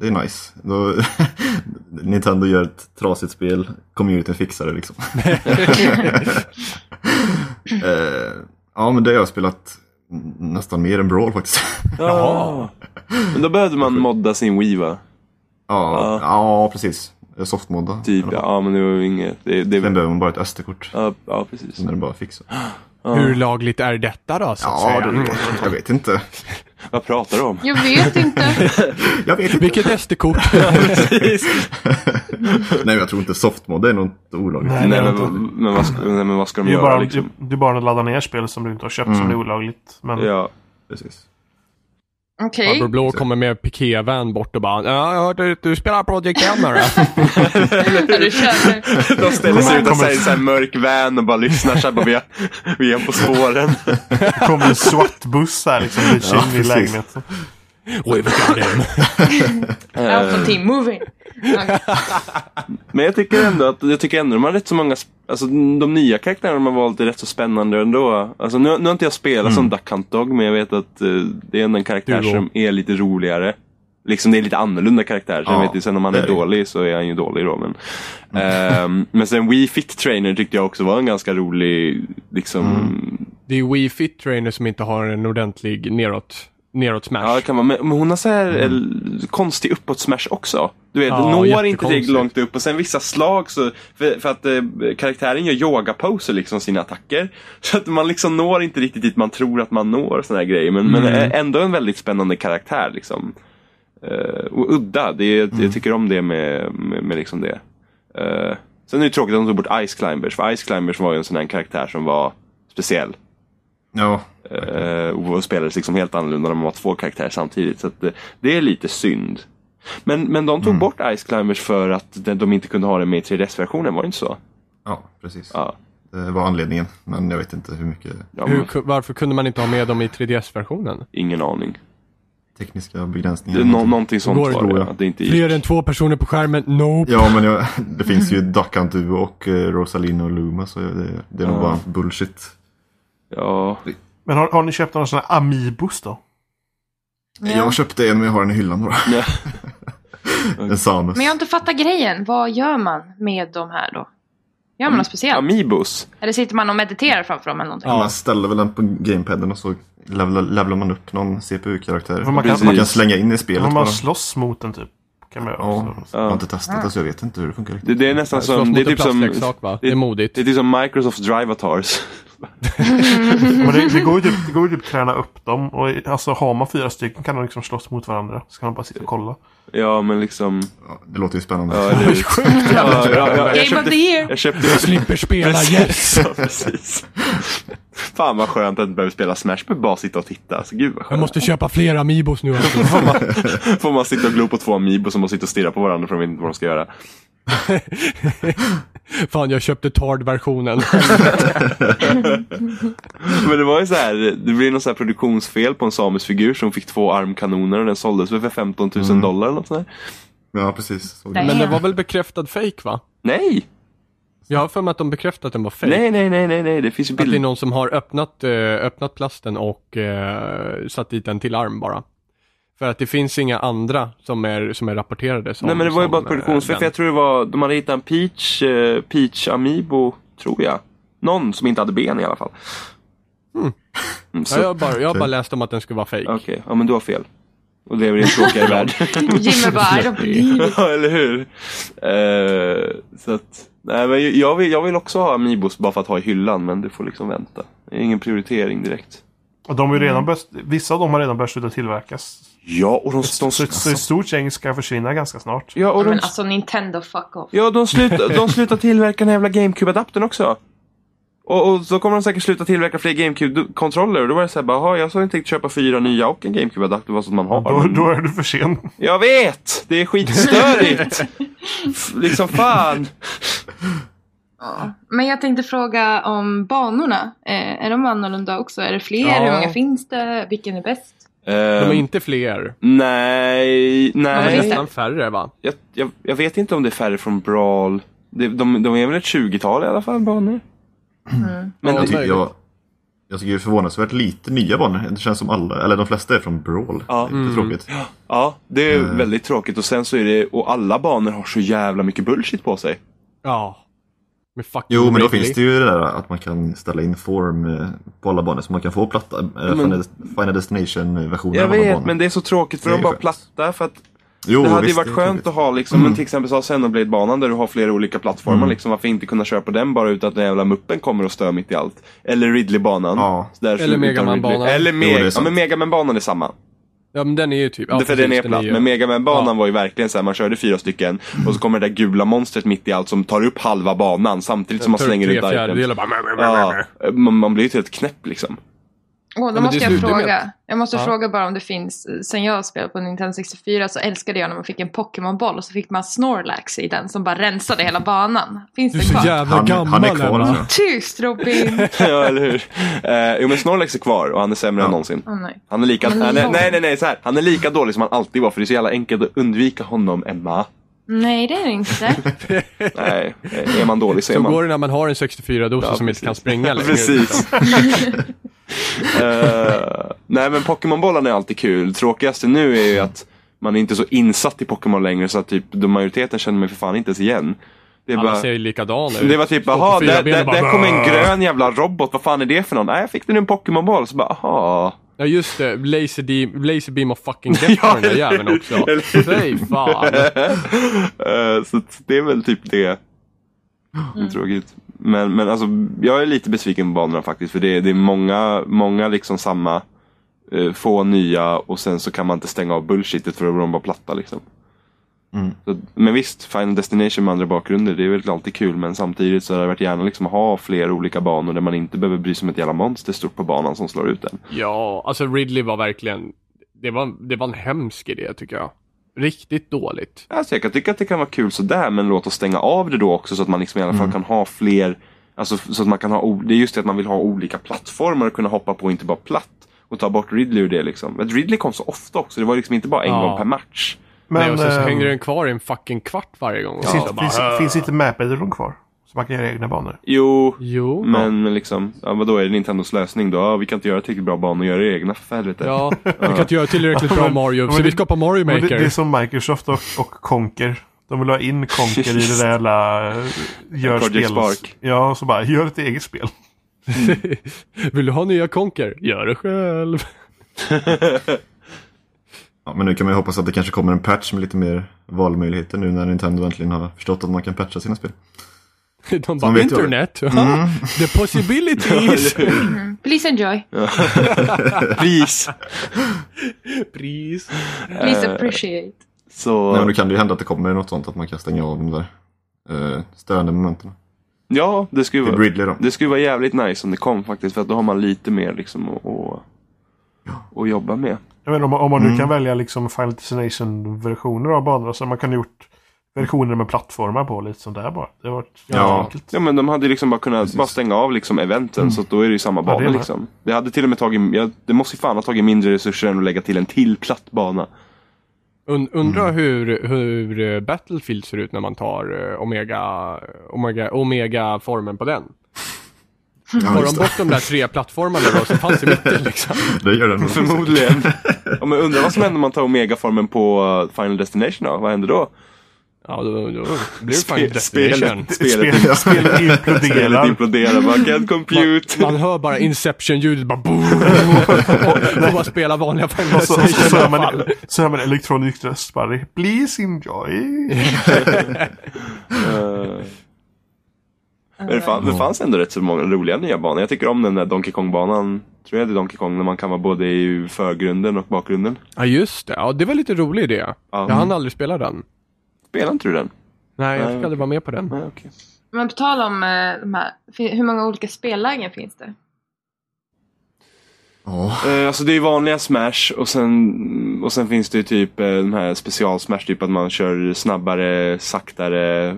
C: det är nice. Då, Nintendo gör ett trasigt spel, communityn fixar det liksom. Eh, ja, men det har jag spelat nästan mer än Brawl faktiskt.
E: ja. Men då behövde man modda sin Wii va?
C: ja,
E: Ja.
C: ja, precis. Softmodda.
E: Typ, ja. ja men det var ju inget. Det,
C: Sen
E: det,
C: behöver man bara ett SD-kort.
E: ja, ja, precis.
A: Mm.
C: Sen är det bara att fixa.
B: Hur lagligt är detta då, så att
C: Ja,
B: säga?
C: det, jag vet inte.
E: Vad pratar du om?
D: Jag vet inte.
C: Jag vet inte.
B: Vilket SD-kort?
C: Nej, men jag tror inte softmod det är något olagligt.
A: Nej.
E: Nej,
A: det
E: men,
A: är inte.
E: men, vad ska, nej men vad ska de
A: Det är ju
E: göra
A: bara,
E: liksom?
A: det, det är bara att ladda ner spel som du inte har köpt som är olagligt. Men
E: Ja.
C: Precis.
D: Okej.
B: Farbror Blå kommer med pikévän bort och bara ja, jag hörde att du spelar Project M här, då."
D: Ja, du känner.
E: De ställer sig
A: Kommer-
E: utanför
A: kommer-
E: en sån här mörk van och bara lyssnar så här, bara, vi, är, vi är på spåren.
A: det kommer en svart buss här liksom. Det
C: Ja,
A: i
C: precis.
A: lägenheten.
B: We've got him.
D: Alpha team moving. Okej.
E: Men jag tycker ändå att jag tycker ändå de har rätt så många, sp- alltså de nya karaktärerna de har valt är rätt så spännande ändå. Alltså nu, nu har inte jag spelat
C: Mm.
E: som Duck Hunt Dog men jag vet att eh, det är ändå en karaktär
B: Duo.
E: som är lite roligare. Liksom det är lite annorlunda karaktär. Så
C: Ja,
E: jag vet ju, sen om han
C: det Mm.
E: är
C: är det.
E: dålig så är han ju dålig då. Men, ehm, men sen Wii Fit Trainer tyckte jag också var en ganska rolig, liksom.
C: Mm.
B: Det är Wii Fit Trainer som inte har en ordentlig neråt, neråt smash. Mm.
E: Ja, det kan vara, men men hon har så här eh, konstig uppåt smash också. Du vet,
B: Ja,
E: når inte
B: jättekonstigt.
E: tillräckligt långt upp och sen vissa slag så, för, för att eh, karaktären gör yogaposer liksom sina attacker. Så att man liksom når inte riktigt dit man tror att man når och såna här grejer. Men,
B: Mm.
E: men ä- ändå en väldigt spännande karaktär liksom. Eh, och udda, det, är-
B: Mm.
E: jag tycker om det med, med, med liksom det. Eh, sen är det tråkigt att de tog bort Ice Climbers, för Ice Climbers var ju en sån här karaktär som var speciell.
C: Ja,
E: Eh, och spelades liksom helt annorlunda när man var två karaktärer samtidigt. Så att, eh, det är lite synd. Men, men de
B: Mm.
E: tog bort Ice Climbers för att de, de inte kunde ha det med i 3DS-versionen, var det inte så?
C: ja precis.
E: Ja.
C: Det var anledningen, men jag vet inte hur mycket
E: ja
B: Hur,
E: men,
B: ku- varför kunde man inte ha med dem i 3DS-versionen?
E: ingen aning.
C: tekniska
E: Det,
C: begränsningar.
E: är nå- någonting sånt
B: Mm. Går det,
E: var
C: tror
E: det.
C: jag.
E: Att det inte
B: Fler
E: gick.
B: än två personer på skärmen? Nope.
C: Ja, men jag, det finns ju Duck Hunt Duo och eh, Rosalina och Luma, så det, det är nog
E: Ja.
C: bara bullshit.
E: Ja.
A: Men har, har ni köpt några sådana här Amiibos då?
C: Jag köpte en, men jag har den i hyllan bara.
E: Nej.
C: en Samus.
D: Men jag har inte fattat grejen. Vad gör man med de här då? Gör man något speciellt?
E: Amiibos.
D: Eller sitter man och mediterar framför dem eller någonting?
B: Ja.
C: Man ställer väl den på gamepaden och så levlar, levlar man upp någon CPU-karaktär.
A: Men
C: Man,
A: man kan-
C: kan slänga in i spelet
A: Om
C: bara.
A: man slåss mot den typ. Kan man göra.
C: Ja,
A: Så-
C: jag har inte testat det, så jag vet inte hur det funkar
E: Det,
C: riktigt.
E: det är nästan
B: Slåss
E: som...
B: mot
E: Det är
B: en
E: typ som...
B: plastleksak va? Det är modigt.
E: Det är typ som Microsofts Drivatars.
A: Men det, det, går ju typ, det går ju typ träna upp dem. Och i- alltså har man fyra stycken kan de liksom slåss mot varandra. Så kan man bara sitta och kolla.
E: Ja, men liksom...
C: Ja, det låter ju spännande.
E: Ja, eller... ja, ja, ja, jag
D: Game of the
E: köpte...
D: year!
E: Jag köpte
B: Slipper spela, yes!
E: Ja, precis. Fan vad skönt att inte behöva spela Smash, men bara sitta och titta. Alltså, gud vad
B: Jag
E: skönt.
B: måste köpa fler Amiibos nu alltså.
E: Får man sitta och glo på två Amiibos som man sitter och stirrar på varandra för de vet inte vad de ska göra.
B: Fan, jag köpte Tard-versionen.
E: Men det var ju så här, det blev något så här produktionsfel på en samisk figur som fick två armkanoner och den såldes väl för 15 000
C: Mm.
E: dollar eller något sånt där.
C: Ja, precis. Såg
D: Nej.
C: det.
B: Men den var väl bekräftad fake va?
E: Nej!
B: Jag har för mig att de bekräftat att den var fake.
E: Nej, nej, nej, nej, nej, det finns ju
B: Att det är
E: bilder.
B: någon som har öppnat, eh, öppnat plasten och eh, satt dit en till arm bara. För att det finns inga andra som är, som är rapporterade som
E: Nej, men det var ju
B: som,
E: bara ett
B: eh,
E: produktionsfel.
B: den.
E: För jag tror det var, de hade hittat en Peach, eh, Peach Amiibo, tror jag. Någon som inte hade ben i alla fall.
B: Mm.
E: Mm, så,
B: Ja, jag har bara, jag har bara läst om att den skulle vara fake.
E: Okej, ja men du har fel. Och lever i en tråkigare värld.
D: Jimmy bara, I don't believe it.
E: Ja, eller hur? Eh, så att, nej, men jag, vill, jag vill också ha Amiibos bara för att ha i hyllan, men du får liksom vänta. Det är ingen prioritering direkt.
A: Och de är ju redan börjat, vissa av dem har redan börjat sluta tillverkas.
E: Ja, och de, de,
A: Så, så ett stort gäng ska försvinna ganska snart.
E: ja, och de,
D: Men alltså Nintendo, fuck off.
E: ja, de, slutar, de slutar tillverka den här jävla GameCube-adaptern också. Och, och så kommer de säkert sluta tillverka fler GameCube-kontroller. Och då var det såhär, bara, "Jaha, jag så inte tänkt köpa fyra nya och en GameCube-adapter, vad som man har.
A: Då,
E: Men-
A: då är du för sen.
E: Jag vet! Det är skitstörigt! F- liksom fan!
D: Ja. Men jag tänkte fråga om banorna. Eh, är de annorlunda också? Är det fler?
B: Ja.
D: Hur många finns det? Vilken är bäst?
B: De är
E: Ehm,
B: inte fler.
E: Nej,
B: De är
D: Nej.
E: nej.
B: nästan färre va?
E: Jag, jag, jag vet inte om det är färre från Brawl. De, de, de är väl ett 20-tal i alla fall, banor. Men
B: Ja,
E: de-
C: Jag, tycker-
B: möjligt.
C: jag, jag tycker det är förvånansvärt lite nya banor. Det känns som alla, eller de flesta är från Brawl.
E: Ja. Mm.
C: Det är lite tråkigt.
E: ja, det är
C: Mm.
E: väldigt tråkigt. Och sen så är det, och alla banor har så jävla mycket bullshit på sig.
B: Ja. Med fucking
C: Jo, men då
B: Wrigley.
C: finns det ju det där att man kan ställa in form eh, på alla banor så man kan få platta, eh, Final- Final Destination-versionen
E: Jag
C: av alla
E: vet,
C: banor.
E: men det är så tråkigt för
C: Det är
E: de bara
C: skönt.
E: platta. För att
C: Jo,
E: det hade ju
C: visst,
E: varit
C: är
E: skönt
C: tråkigt. Mm.
E: att ha liksom, men till exempel så Xenoblade-banan där du har flera olika plattformar. Liksom, varför inte kunna köra på den bara utan att den jävla muppen kommer och stör mitt i allt? Eller Ridley-banan.
C: Ja.
E: Så där så
B: Eller
E: utan
B: Mega Man-banan.
E: Ridley. Eller
C: Jo, det är
E: Meg- ja,
C: sant.
E: men Megaman-banan är samma.
B: Ja, men den är ju typ... Ja,
E: det för den är
B: precis,
E: platt.
B: ju-
E: Men Megaman-banan
B: Ja.
E: var ju verkligen så här, man körde fyra stycken och så kommer det där gula monstret mitt i allt som tar upp halva banan samtidigt som man
B: tar upp
E: slänger
B: tre
E: ut items.
B: fjärdedelar bara...
E: Ja, man, man blir ju helt knäpp liksom.
D: Åh,
B: men
D: då
B: det
D: måste
B: är
D: jag
B: slutdemet.
D: fråga. Jag måste
B: Ja.
D: fråga bara om det finns. eh, Sen jag spelade på Nintendo 64 så älskade jag när man fick en Pokémon-boll och så fick man Snorlax i den som bara rensade hela banan. Finns
B: Du är
D: det
B: så
D: kvar?
B: jävla
C: Han,
B: gammal.
C: han är kvar alltså.
B: Emma.
C: tror jag.
D: Tyst Robin!
E: ja, eller hur? Eh, jo, men Snorlax är kvar och han är sämre än
C: Ja.
E: någonsin.
D: Åh nej.
E: Han är lika,
D: Men
E: han är,
D: lång.
E: nej, nej, nej, så här. Han är lika dålig som han alltid var för det är så jävla enkelt att undvika honom, Emma.
D: Nej, det är det inte.
E: Nej, eh, är man dålig så är
B: Så
E: man.
B: går det när man har en 64-dosa
E: Ja,
B: som
E: precis.
B: inte kan springa längre.
E: Precis. Eh, nej men Pokémon-bollarna är alltid kul. Tråkigaste nu är ju att man är inte så insatt i Pokémon längre så att typ de majoriteten känner mig för fan inte ens igen. Det är
B: Alla
E: bara,
B: ser ju likadana ut.
E: det var typ,
B: Står på
E: jaha,
B: fyra
E: där,
B: ben och
E: där,
B: bara,
E: där kom en
B: "Bah."
E: grön jävla robot, vad fan är det för någon? Nej, jag fick den ur en Pokémon-boll. Så bara, aha.
B: Ja just det, laser, de- laser beam of fucking death på den där
E: eller-
B: jäveln också.
E: eller-
B: Fy fan.
E: Eh, så att det är väl typ det. Det är Tråkigt. Men, men alltså, jag är lite besviken på banorna faktiskt. För det är, det är många, många liksom samma. eh, få nya och sen så kan man inte stänga av bullshitet för då blir de bara platta liksom.
C: Mm.
E: Så, men visst, Final Destination med andra bakgrunder, det är väl alltid kul. Men samtidigt så hade det varit gärna liksom att ha fler olika banor där man inte behöver bry sig om ett jävla monster stort på banan som slår ut en.
B: Ja, alltså Ridley var verkligen, det var, det var en hemsk idé tycker jag. Riktigt dåligt.
E: Alltså, jag kan tycka att det kan vara kul sådär, men låt oss stänga av det då också så att man liksom i alla fall kan ha fler. Alltså, f- så att man kan ha, o- det är just det att man vill ha olika plattformar och kunna hoppa på, inte bara platt. Och ta bort Ridley ur det liksom. Men Ridley kom så ofta också, det var liksom inte bara en
B: Ja.
E: gång per match.
A: Men
B: Nej, och sen så
A: ehm,
B: hängde den kvar i en fucking kvart varje gång.
A: finns,
B: Ja.
A: inte-
B: Bara,
A: finns,
B: "Äh."
A: finns inte Map-editorn kvar? Så man kan göra egna banor.
E: Jo,
B: Jo.
E: Men liksom, ja, vadå är det Nintendos lösning då? Ja, vi kan inte göra tillräckligt bra banor och göra det egna för helvete.
B: Ja, vi kan inte göra tillräckligt bra
A: Men-
B: Mario,
A: men
B: så
A: det-
B: vi skapar Mario
A: Men Det, det är
B: Maker.
A: som Microsoft och, och Conker. De vill ha in Conker i det där jävla... eh, Gör
E: Project
A: spel.
E: Spark.
A: Ja, så bara gör ett eget spel.
B: Vill du ha nya konker? Gör det själv.
C: Ja, men nu kan man ju hoppas att det kanske kommer en patch med lite mer valmöjligheter nu när Nintendo äntligen har förstått att man kan patcha sina spel.
B: De bara,
C: vet jag det.
B: internet? Mm. The possibilities!
D: Please enjoy.
E: Pris!
B: Pris. Eh.
D: Please appreciate.
E: Så,
C: Nej, men då kan det ju hända att det kommer något sånt att man kan stänga av de där eh, störande momenten.
E: ja, det skulle,
C: Typ
E: vara,
C: Ridley då.
E: det skulle vara jävligt nice om det kom faktiskt. För att då har man lite mer liksom att- att att jobba med.
A: Mm. Jag menar, om, man- om man nu kan välja liksom Final Destination-versioner av banor. Så man kan ha gjort versioner med plattformar på lite sånt där bara. Det har varit
C: Ja.
A: ganska enkelt.
E: Ja men de hade liksom bara kunnat
C: Precis.
E: bara stänga av liksom eventen så att då är det ju samma
A: Mm. Ja,
E: bana
A: det är det.
E: liksom. Det hade till och med tagit, ja, det måste ju fan ha tagit mindre resurser än att lägga till en till platt bana.
B: Und, undra hur, hur eh, Battlefield ser ut när man tar eh, Omega, Omega, Omega-formen på den. Tar
C: Ja, just
B: de
C: det.
B: bort de där tre plattformarna då som fanns i mitten liksom?
C: det gör den nog.
E: Förmodligen. ja, men undrar vad som händer om man tar Omega-formen på eh, Final Destination då? Vad händer då?
B: Ja, då, då blir det fan
E: Spe-
B: Destination.
E: spelet.
A: Spel, spelet
E: Spelet
A: imploderar.
E: imploderar. Man kan compute.
B: Man hör bara Inception-ljudet bara boom! Och bara spela vanliga Final
A: Och så, och så, så, hör
B: Destination i alla
A: man,
B: fall.
A: så hör man en elektronisk röst bara. Please enjoy.
E: Eh, men det, fann, det fanns ändå rätt så många roliga nya banor. Jag tycker om den där Donkey Kong-banan. Tror jag det är Donkey Kong när man kan vara både i förgrunden och bakgrunden.
B: Ja, just det. Ja, det var lite rolig idé. Jag hann aldrig spela den.
E: Spelar inte du den?
B: Nej, jag
E: Nej,
B: fick
E: okej.
B: aldrig vara med på den.
E: Nej, okej.
D: Men på tal om eh, de här, fi- hur många olika spellägen finns det?
C: Ja,
E: Eh, Alltså det är vanliga smash och sen, och sen finns det ju typ eh, de här specialsmash, typ att man kör snabbare, saktare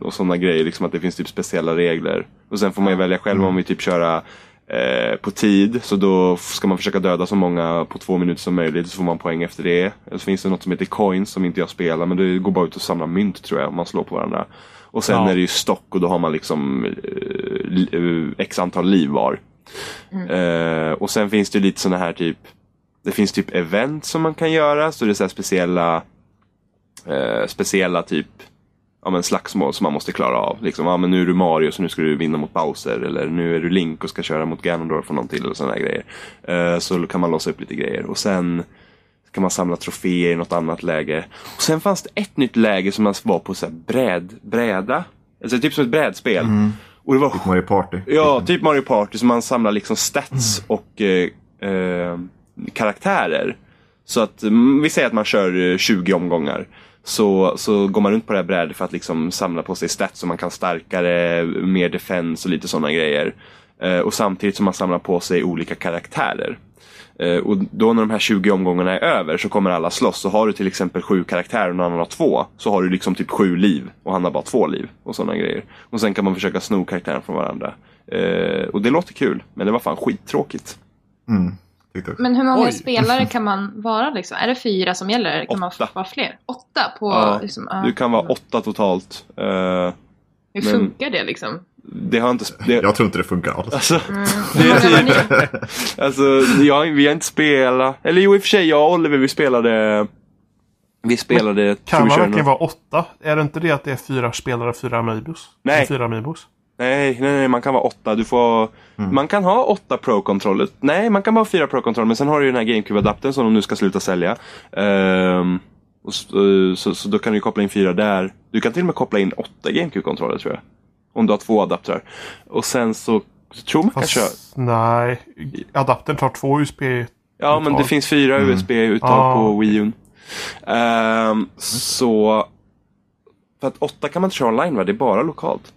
E: och sådana grejer. Liksom att det finns typ speciella regler. Och sen får man ju välja själv om vi typ köra eh, på tid. Så då f- ska man försöka döda så många på två minuter som möjligt. Så får man poäng efter det. Eller så finns det något som heter coins som inte jag spelar. Men det går bara ut och samlar mynt tror jag om man slår på varandra. Och sen
B: Ja.
E: är det ju stock och då har man liksom eh, li- eh, x antal liv var. Eh, och sen finns det lite sådana här typ Det finns typ event som man kan göra. Så det är så här speciella eh, Speciella typ ja, men slagsmål som man måste klara av. Liksom, ja, men nu är du Mario så nu ska du vinna mot Bowser. Eller nu är du Link och ska köra mot Ganondorf och någon till. Och såna här grejer. Eh, så kan man låsa upp lite grejer. Och sen kan man samla troféer i något annat läge. Och sen fanns det ett nytt läge som man var på så här bräd, bräda. Alltså typ som ett brädspel. Och det var
C: Mario Party.
E: Ja, typ Mario Party. Så man samlar liksom stats och eh, eh, karaktärer. Så att mm, vi säger att man kör eh, 20 omgångar. Så, så går man runt på det här brädet för att liksom samla på sig stats så man kan starkare, mer defense och lite sådana grejer. Eh, och samtidigt som man samlar på sig olika karaktärer. Eh, och då när de här 20 omgångarna är över så kommer alla slåss. Så har du till exempel sju karaktärer och någon annan har två. Så har du liksom typ sju liv och han har bara två liv. Och sådana grejer. Och sen kan man försöka sno karaktären från varandra. Eh, och det låter kul, men det var fan skittråkigt.
C: Mm, tyckte jag.
D: Men hur många
B: Oj.
D: spelare kan man vara liksom? Är det fyra som gäller? Eller Kan
E: Åtta.
D: man vara fler? Åtta på...
E: Ja,
D: liksom, ja.
E: Du kan vara åtta totalt. Eh,
D: Hur
E: men-
D: funkar det liksom?
E: det har inte... sp- Det,
C: Jag tror inte det funkar alls.
E: alltså,
D: Hur
E: det är
D: många var
E: typ...
D: ni?
E: Alltså, jag, vi har inte spelat... Eller jo, i och för sig, jag och Oliver vi spelade... Vi spelade... tror
A: Kan
E: vi
A: man
E: körde
A: verkligen
E: något-
A: vara åtta? Är det inte det att det är fyra spelare, fyra amiibos?
E: Nej.
A: Fyra amiibos?
E: Nej, nej, nej, man kan vara åtta. Du får...
A: Mm.
E: Man kan ha åtta Pro-kontroller. Nej, man kan bara ha fyra Pro-kontroller. Men sen har du ju den här GameCube-adaptern som de nu ska sluta sälja. Ehm, och så, så, så då kan du ju koppla in fyra där. Du kan till och med koppla in åtta GameCube-kontroller tror jag. Om du har två adaptrar. Och sen så tror man kan köra...
A: Fast, nej. Adaptern tar två USB.
E: Ja, men det
A: uttag.
E: finns fyra USB-uttag
A: Ah,
E: på Wii U. Ehm, så... För att åtta kan man inte köra online va? Det är bara lokalt.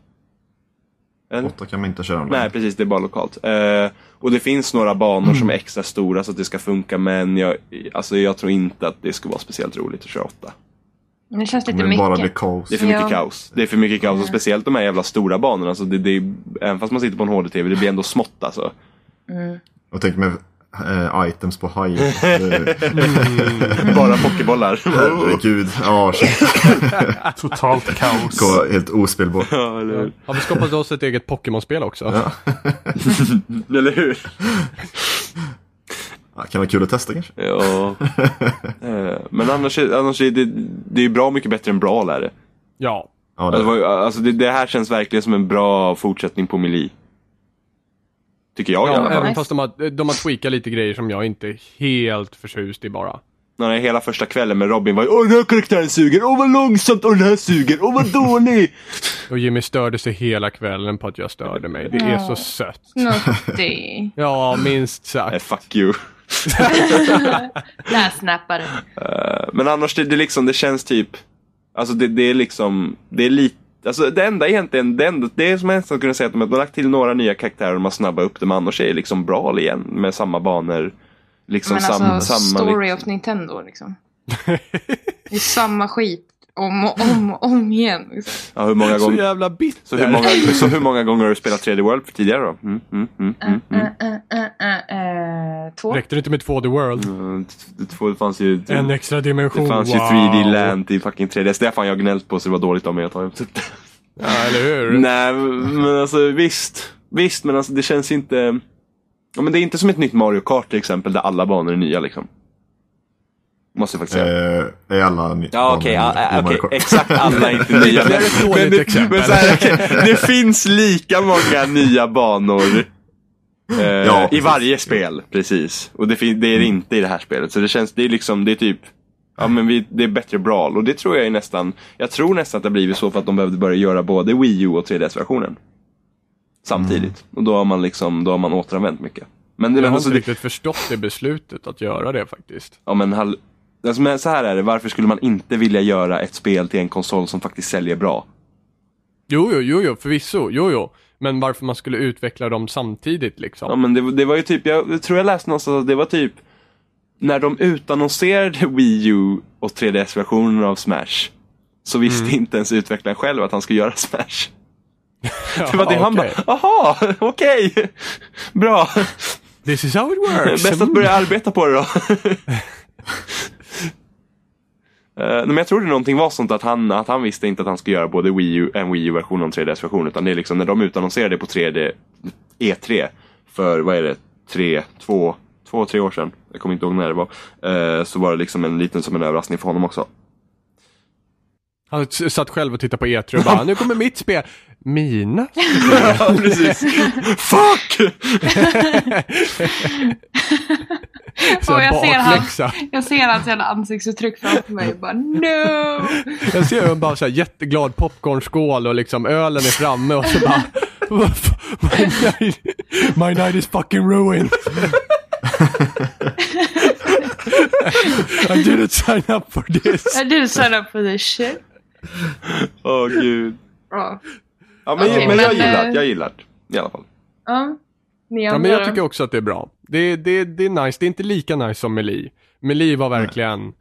E: Eller?
C: Åtta kan man inte köra med.
E: Nej, precis. Det är bara lokalt. Eh, och det finns några banor som är extra stora så att det ska funka, men jag, alltså, jag tror inte att det skulle vara speciellt roligt att köra åtta.
D: Det känns lite
C: Om det
D: mycket.
C: bara blir kaos.
E: Det är för mycket
D: Ja.
E: kaos. Det är för mycket kaos, och speciellt de här jävla stora banorna. Så det, det, är- även fast man sitter på en HD-TV, det blir ändå smått alltså.
C: Jag tänker med eh, items på haj. Eh,
E: Bara pokébollar.
C: Herregud. Ja, shit.
A: Totalt kaos.
C: Kolla, Helt ospelbart.
E: ja, eller, hur?
B: Har vi skapat oss ett eget Pokémon-spel också?
E: eller hur?
C: Ja, Ah, Kan vara kul att testa kanske.
E: Ja. Eh, men annars, är- annars är det, det är bra mycket bättre än Brawl är det.
B: Ja.
C: Ja,
E: Alltså,
C: det,
E: vad- alltså, det, det här känns verkligen som en bra fortsättning på Melee. Tycker jag i alla
B: Ja,
E: fall.
B: även
D: nice.
B: fast de har, de har tweakat lite grejer som jag inte är helt förtjust i bara.
E: när den hela första kvällen med Robin var Åh den här karaktären suger, åh vad långsamt, åh den här suger, åh vad dålig!
B: Och Jimmy störde sig hela kvällen på att jag störde mig. Det är så sött.
D: Snuttig.
B: Ja, minst
E: Nej,
B: sagt.
E: fuck you.
D: Nässnappare.
E: Eh, Men annars det, det liksom, det känns typ Alltså det, det är liksom, det är lite Alltså det enda egentligen, det, enda, det som jag nästan skulle säga att de har lagt till några nya karaktärer och man snabbar upp dem annars är det liksom bra igen med samma banor. Liksom
D: Men
E: sam,
D: alltså,
E: samma...
D: story of Nintendo liksom. Det är liksom. samma skit om och om och om igen. Liksom.
E: Ja, hur många
B: Så
E: gånger...
B: jävla bitter.
E: Så hur, många, så hur många gånger har du spelat 3D World tidigare då? Mm, mm, mm, mm,
D: Eh,
E: mm.
D: eh, eh, eh, eh, Två.
B: Räckte det inte med 2D World?
E: Mm, det- Det fanns ju...
B: En extra dimension.
E: Det fanns ju
B: wow.
E: 3D Land i fucking 3DS. Det har fan jag gnällt på så det var dåligt av mig att ta upp.
B: Ja, eller hur?
E: Nej, men alltså visst. Visst, men alltså det känns inte... Ja, men det är inte som ett nytt Mario Kart till exempel, där alla banor är nya liksom. Måste jag faktiskt säga.
C: Eh, är alla ni-
E: Ja okej,
C: barnen i- i
E: ja, eh,
C: Mario
E: okej.
C: Kart?
E: exakt alla är inte nya.
B: Ytterligare ett dåligt
E: men, det,
B: exempel.
E: men så här, okej, det finns lika många nya banor eh,
C: Ja,
E: i
C: precis. Mm.
E: varje spel. Precis. Och det, fin- det är det inte i det här spelet. Så det känns, det är liksom, det är typ Ja men vi, det är bättre Brawl och det tror jag är nästan Jag tror nästan att det har blivit så för att de behövde börja göra både Wii U och 3DS-versionen Samtidigt.
C: Mm.
E: Och då har man liksom, då har man återanvänt mycket. Men, det,
B: Jag
E: men
B: har
E: alltså,
B: inte
E: det,
B: riktigt förstått det beslutet att göra det faktiskt.
E: Ja men, hall- alltså, men så här är det, varför skulle man inte vilja göra ett spel till en konsol som faktiskt säljer bra?
B: Jo, jo, jo, jo, förvisso. Jo, jo. Men varför man skulle utveckla dem samtidigt liksom.
E: Ja men det, det var ju typ, jag tror jag läste någonstans att det var typ När de utannonserade Wii U och 3DS-versionen av Smash Så visste inte ens utvecklaren själv att han skulle göra Smash. Det var det han
B: okej.
E: bara, aha, okej, bra.
B: This is how it works.
E: Bäst att börja arbeta på det då. Eh, nej, men jag tror det någonting var sånt att han, att han visste inte att han skulle göra både Wii U, en Wii U-version och en 3DS-version. Utan det är liksom när de utannonserade på 3D, E3 för, vad är det, tre, två, två, tre år sedan. Jag kommer inte ihåg när det var. Eh, så var det liksom en liten som en överraskning för honom också.
B: Han s- satt själv och tittade på E3 och bara, nu kommer mitt spel. Mina?
E: Ja, precis. Fuck!
B: Så
D: Och jag ser han.
B: bakläxa.
D: Jag ser hans jävla ansiktsuttryck framför mig och bara no!
B: Jag ser hur han bara så här jätteglad popcornskål och liksom ölen är framme och så bara "Vad f- My night, my night is fucking ruined. I didn't sign up for this.
D: I do sign up for this shit.
E: Åh gud.
D: Ja.
E: Ja, men,
D: Okej,
E: men jag
D: men,
E: gillar det,
D: eh,
E: jag gillar det. I alla fall.
D: Ja. Ni
B: Ja,
D: andra
B: men jag
D: då?
B: tycker också att det är bra. Det, det, det är nice. Det är inte lika nice som Meli. Meli var verkligen,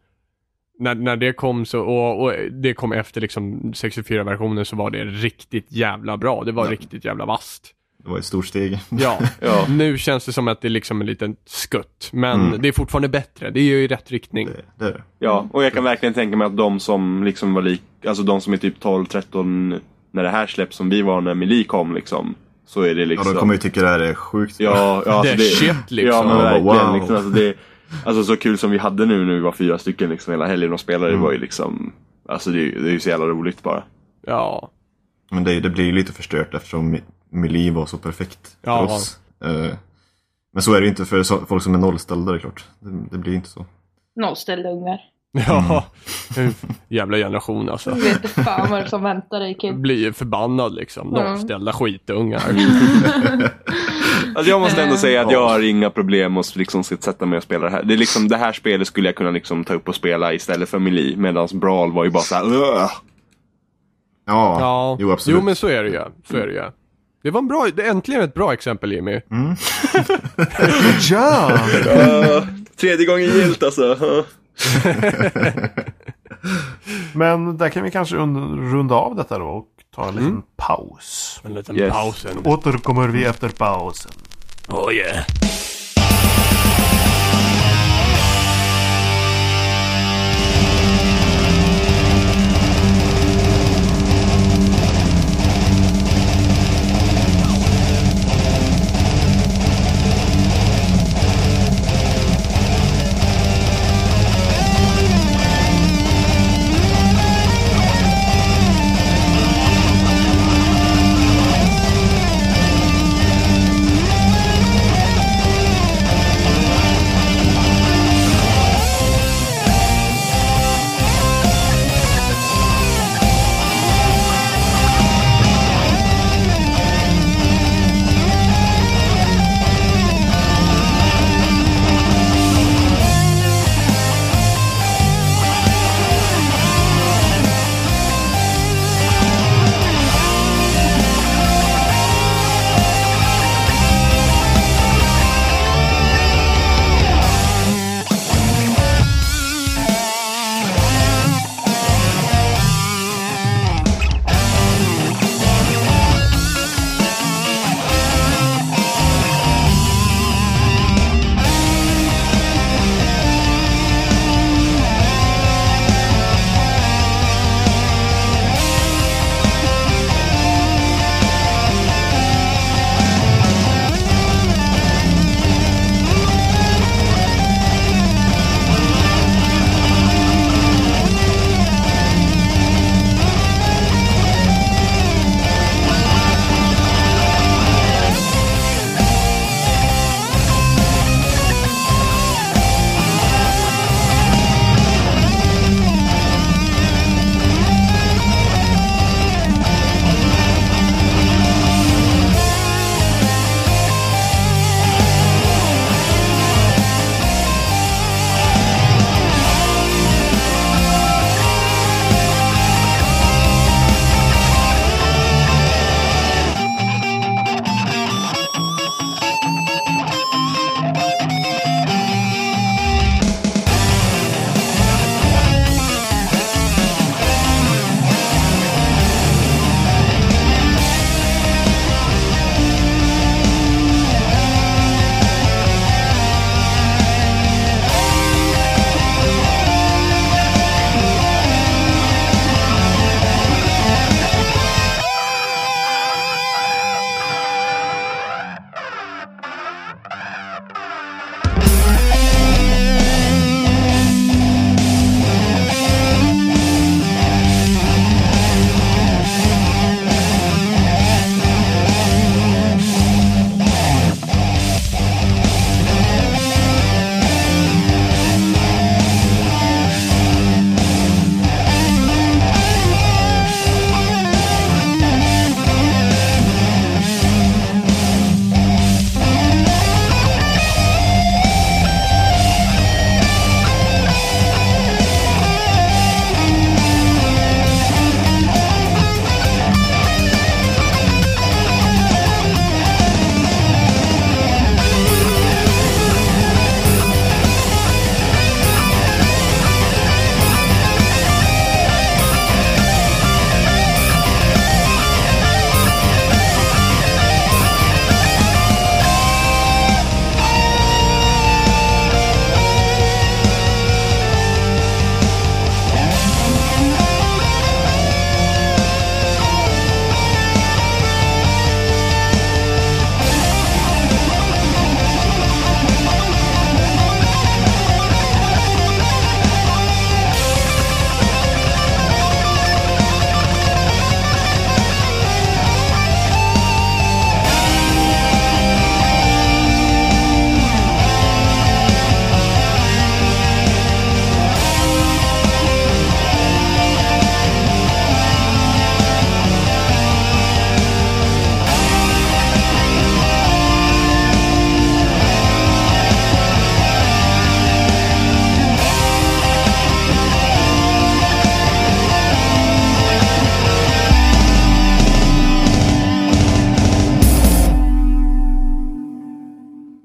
B: när, när det kom så, och, och det kom efter liksom 64-versionen så var det riktigt jävla bra. Det var riktigt jävla vasst.
C: Det var ett stort steg.
B: Ja.
E: Ja.
B: Nu känns det som att det är liksom en liten skutt. Men det är fortfarande bättre. Det är ju i rätt riktning.
C: Det, det är det.
E: Ja, och jag kan verkligen tänka mig att de som liksom var lik, alltså de som är typ 12-13 när det här släpps som vi var när Meli kom liksom. Så är det
C: Ja,
E: liksom.
C: de kommer ju tycka det här är sjukt.
E: ja, ja, alltså
B: Det är shit, liksom.
E: Ja, men
C: Ja,
E: verkligen.
C: wow.
E: Liksom, alltså, det, alltså så kul som vi hade nu när vi var fyra stycken liksom hela helgen och spelade.
C: Mm.
E: Det var ju liksom, alltså det, är ju- det är ju så jävla roligt bara.
B: Ja.
C: Men det, det blir ju lite förstört eftersom Mi- Mili var så perfekt
B: Ja.
C: för oss. Eh, Men så är det ju inte för så- folk som är nollställda, det är klart. Det, det blir ju inte så.
D: Nollställda ungar.
B: Ja. Jävla generation alltså.
D: Jag vet inte fan vad som väntar dig kid.
B: Blir förbannad liksom.
D: Ja.
B: Nollställda skitungar.
E: Alltså jag måste ändå
D: Eh.
E: säga att jag har inga problem att liksom sätta mig och spela det här. Det, är liksom, det här spelet skulle jag kunna liksom ta upp och spela istället för Meli. Medan Brawl var ju bara såhär, "Ugh."
C: Ja,
B: Ja.
C: jo absolut.
B: Jo, men så är det ju. Så är det ju. Det var en bra, det är äntligen ett bra exempel Jimmy.
A: Ja!
E: Uh, tredje gången gillt alltså. Uh.
A: Men där kan vi kanske und- runda av detta då och ta en liten paus.
B: En liten
E: Yes.
B: paus. en-
A: Återkommer vi efter pausen.
B: Oh yeah.
F: Thank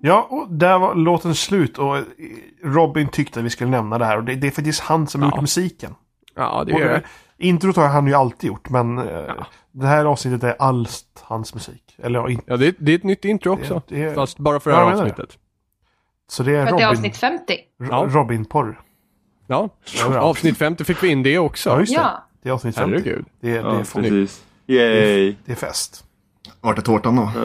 A: Ja, och där var låten slut och eh, Robin tyckte att vi skulle nämna det här och det, det är faktiskt han som har
B: Ja.
A: gjort musiken.
B: Ja, det
A: Och
B: gör
A: det-
B: det.
A: Introt har han ju alltid gjort men eh,
B: Ja.
A: det här avsnittet är alls hans musik. Eller ja, inte.
B: Ja, det är, det är ett nytt intro också.
A: Det- det är-
B: Fast bara för det
A: Ja,
B: här
A: jag menar det.
B: avsnittet.
A: Så det är
D: För att det
A: Robin,
D: är avsnitt 50.
B: Ja.
A: Robin-porr.
B: Ja.
A: Överallt.
B: Avsnitt 50 fick vi in det
A: Ja,
B: också.
A: just det.
D: Ja.
A: Det är avsnitt 50.
B: Herregud.
A: Det, är- det,
E: Ja,
A: är, det, är,
E: precis. Yay!
A: det är fest.
C: Vart är tårtan då? Ja,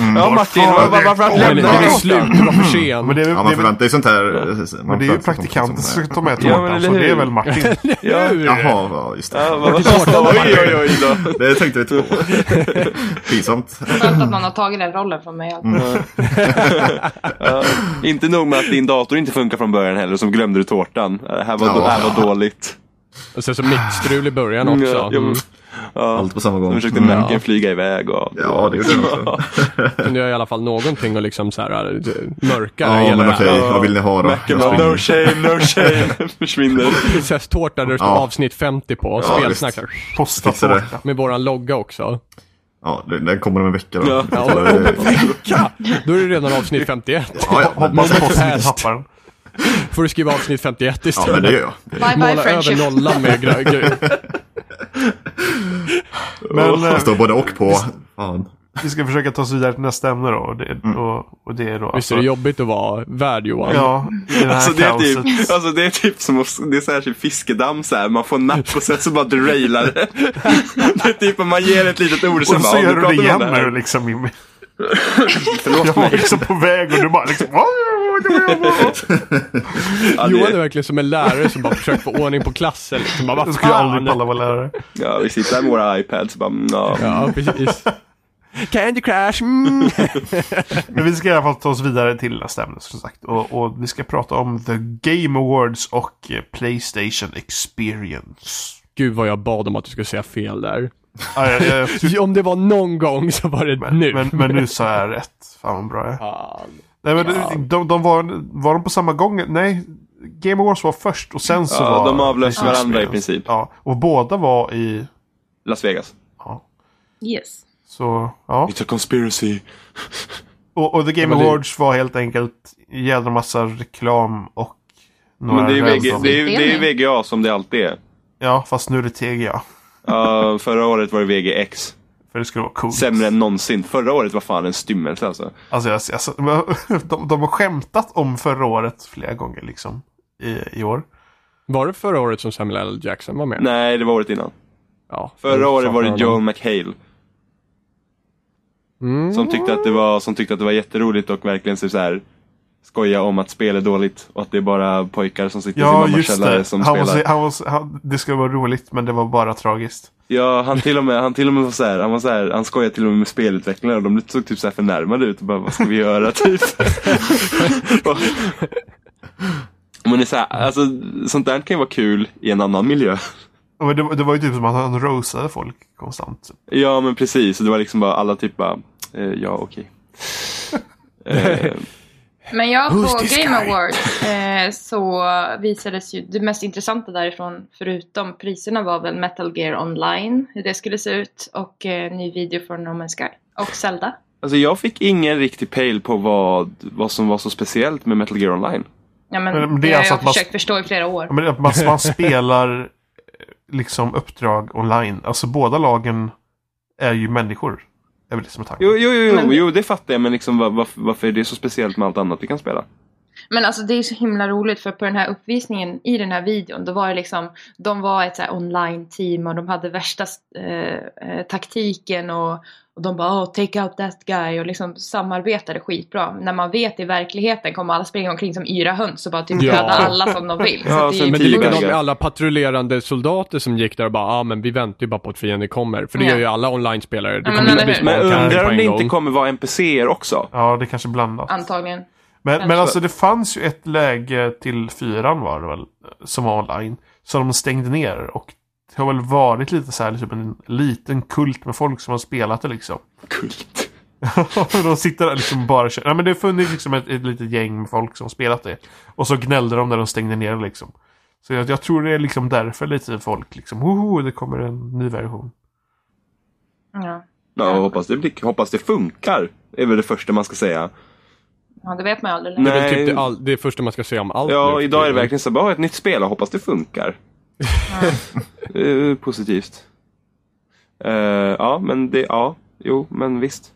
C: mm,
E: Ja,
C: var
E: Martin,
C: fan
E: var-
C: är
E: var- varför att
C: tårtan?
B: Men det
E: lämna
B: var
E: oss?
B: slut, det var för sent.
A: Men det är, väl-
C: Ja,
A: det
C: man
A: är, väl-
C: förväntar sig sånt här. eh,
A: men det är ju praktikanten som ska ta med
E: Ja,
A: tårtan
E: men eller
A: så det är
E: hur?
A: väl Martin.
E: Ja.
B: Hur?
C: Jaha, ja, just
E: Ja,
C: det.
E: vad, vad, oj, oj, oj då.
C: Det tänkte vi inte på. Pinsamt.
D: Skönt
A: Mm.
D: att någon har tagit den rollen från mig.
E: Ja. Inte nog med att din dator inte funkar från början heller, som glömde du tårtan. Det här var,
C: Ja.
E: det här var dåligt.
B: Och sen så mickstrul i början
E: Ja,
B: också.
E: jag-
B: Mm.
E: ja.
C: Allt på samma
E: Sen
C: gång.
E: försökte
C: Mm.
E: Macen flyga iväg och...
C: Ja, det gjorde den också.
B: Kunde jag i alla fall någonting och liksom så här äh, mörka
C: Ja,
B: hela
C: men
B: det här.
C: okej. Vad vill ni ha då?
E: Macen bara, no shame, no shame. Försvinner.
B: Prinsesstårta där det står
C: Ja.
B: avsnitt 50 på. och
C: Ja,
B: Spelsnack.
A: Posta
C: Fixar det.
A: tårta.
B: Med våran logga också.
C: Ja, den den kommer om en vecka då.
E: Ja.
B: Ja,
C: Så, eh,
B: Ja, då är det redan avsnitt 51.
C: ja, ja, men,
A: Hoppas att posten inte
B: fest.
A: tappar den.
B: Får du skriva avsnitt 51
C: ja,
B: istället.
C: men det gör jag.
D: Bye bye
B: Måla över
D: friendship.
B: nollan med grö- grö-
A: Men eh,
C: Det står både och på. Fan.
A: vi ska försöka ta oss vidare till nästa ämne då. Och det, och, och det är då alltså-
B: Visst är det jobbigt att vara värd Johan?
A: Ja, i det här
E: Alltså det, är
A: kaoset.
E: typ, alltså det är typ som att, det är så här typ fiskedamm så här. man får napp och sen så bara derailar det. Det är typ att man ger ett litet ord och sen
A: Och
E: bara,
A: så
E: "Ja,
A: gör
E: nu
A: du det
E: pratar vi
A: igen
E: om här."
A: när du liksom Jimmy. Jag
E: Förlåt
A: var
E: mig.
A: liksom på väg och du bara liksom...
E: Ja, det,
B: Johan är verkligen som en lärare som bara försöker få ordning på klassen. Liksom. Bara,
A: Jag
B: vad
A: skulle
B: fan?
A: aldrig palla vara lärare.
E: ja, vi sitter här med våra iPads och bara, mm, ja.
B: Ja, precis. Candy Crash! Mm.
A: Men vi ska i alla fall ta oss vidare till nästa ämne som sagt. Och, och vi ska prata om The Game Awards och eh, Playstation Experience. Ah,
B: Gud vad jag bad om att du skulle säga fel där.
A: Ja, jag, jag,
E: Typ-
B: Om det var någon gång så var det nu.
A: men, men, men nu sa jag rätt. Fan vad bra jag är.
B: Fan.
A: Nej, men eh, de, de var, var de på samma gång? Nej, Game Awards var först och sen så
E: Ja,
A: var...
E: de avlöste
A: Playstation
E: varandra i
A: Experience.
E: princip.
A: Ja, och båda var i...
E: Las Vegas.
A: Ja,
D: Yes.
A: så, ja.
E: It's a conspiracy.
A: Och, och The Game
B: Ja, men det-
A: Awards var helt enkelt en jävla massa reklam och några
E: Men det är ju VG,
A: random-
E: det är, ju- det är ju VGA som det alltid är.
A: Ja, fast nu är det TGA.
E: Ja, förra året var det VGX.
A: För det skulle vara coolt.
E: Sämre än någonsin. Förra året var fan en stymmelse alltså.
A: Alltså, jag, alltså de- de, de har skämtat om förra året flera gånger liksom. I, i år.
B: Var det förra året som Samuel L. Jackson var med?
E: Nej, det var året innan.
B: Ja. Mm.
E: Förra året var det
B: Fan.
E: Joel McHale.
B: Mm.
E: Som tyckte att det var, som tyckte att det var jätteroligt och verkligen typ så så här skoja om att spel är dåligt och att det är bara pojkar som sitter i sin
A: Ja,
E: mammas
A: just
E: källare
A: det.
E: som
A: han var,
E: spelar.
A: så- han var, så- han, det skulle vara roligt, men det var bara tragiskt.
E: Ja, han till och med, han till och med var så här, han var så här, han skojade till och med med spelutvecklare och de såg typ så här förnärmade ut och bara vad ska vi göra typ. och, men det är så här, alltså sånt där kan ju vara kul i en annan miljö.
A: Men det, var- det var ju typ som att han rosade folk konstant.
E: Ja men precis, det var liksom bara alla typ bara, eh, ja okej. Eh,
D: Men ja,
B: Who's
D: på
B: this
D: Game
B: guy?
D: Awards eh, så visades ju det mest intressanta därifrån, förutom priserna, var väl Metal Gear Online, hur det skulle se ut, och eh, ny video från No Man's Sky, och Zelda.
E: alltså jag fick ingen riktig pejl på vad, vad som var så speciellt med Metal Gear Online.
D: Ja, men,
A: Men- men det
D: det
A: är
D: har
A: alltså
D: jag
A: att man-
D: försökt förstå i flera år.
A: Ja, men att man, man spelar eh, liksom uppdrag online. Alltså båda lagen är ju människor. Det är väl det som är tanken.
E: Jo, jo, jo, jo,
D: Men-
E: jo det fattar jag men liksom var, varf- varför är det så speciellt med allt annat vi kan spela?
D: Men alltså det är så himla roligt för på den här uppvisningen i den här videon då var det liksom De var ett så här online team och de hade värsta eh, eh, taktiken och, och de bara oh, take out that guy och liksom samarbetade skitbra. När man vet i verkligheten kommer alla springa omkring som yra höns och bara typ
B: Ja.
D: döda alla som de vill. så
E: Ja,
D: det är typ
E: sen
B: Men
D: ju
E: med
B: det är likadant
E: Tigerberger.
B: med alla patrullerande soldater som gick där och bara, ah, men vi väntar ju bara på att fienden kommer. För det
D: Ja.
B: gör ju alla online-spelare. Det
D: men
B: kommer inte
D: eller
B: bli
D: hur?
B: så många
E: Men
B: karaktärer
E: undrar
B: på
E: om
B: en
E: det inte
B: gång.
E: kommer vara NPCer också?
A: Ja, det kanske blandat.
D: antagligen.
A: Men, men
D: kanske.
A: alltså det fanns ju ett läge till fyran var det väl, som var online. Som de stängde ner och det har väl varit lite så här, typ en liten kult med folk som har spelat det liksom.
E: Kult.
A: de sitter där liksom bara och kör. Ja, men det har funnits liksom ett, ett litet gäng med folk som har spelat det. Och så gnällde de när de stängde ner det, liksom. Så jag, jag tror det är liksom därför lite folk liksom, hoho, det kommer en ny version.
D: Ja.
E: Ja, jag hoppas det, blir, hoppas det funkar. Det är väl det första man ska säga.
D: Ja, det vet man ju aldrig.
E: Nej.
D: längre.
B: Det är väl typ det, all, det första man ska säga om allt nu
E: Ja,
B: för
E: idag är det
B: tiden.
E: verkligen så bara, ett nytt spel och hoppas det funkar.
D: Ja.
E: Eh, positivt. Eh, ja, men det, ja. Jo, men visst.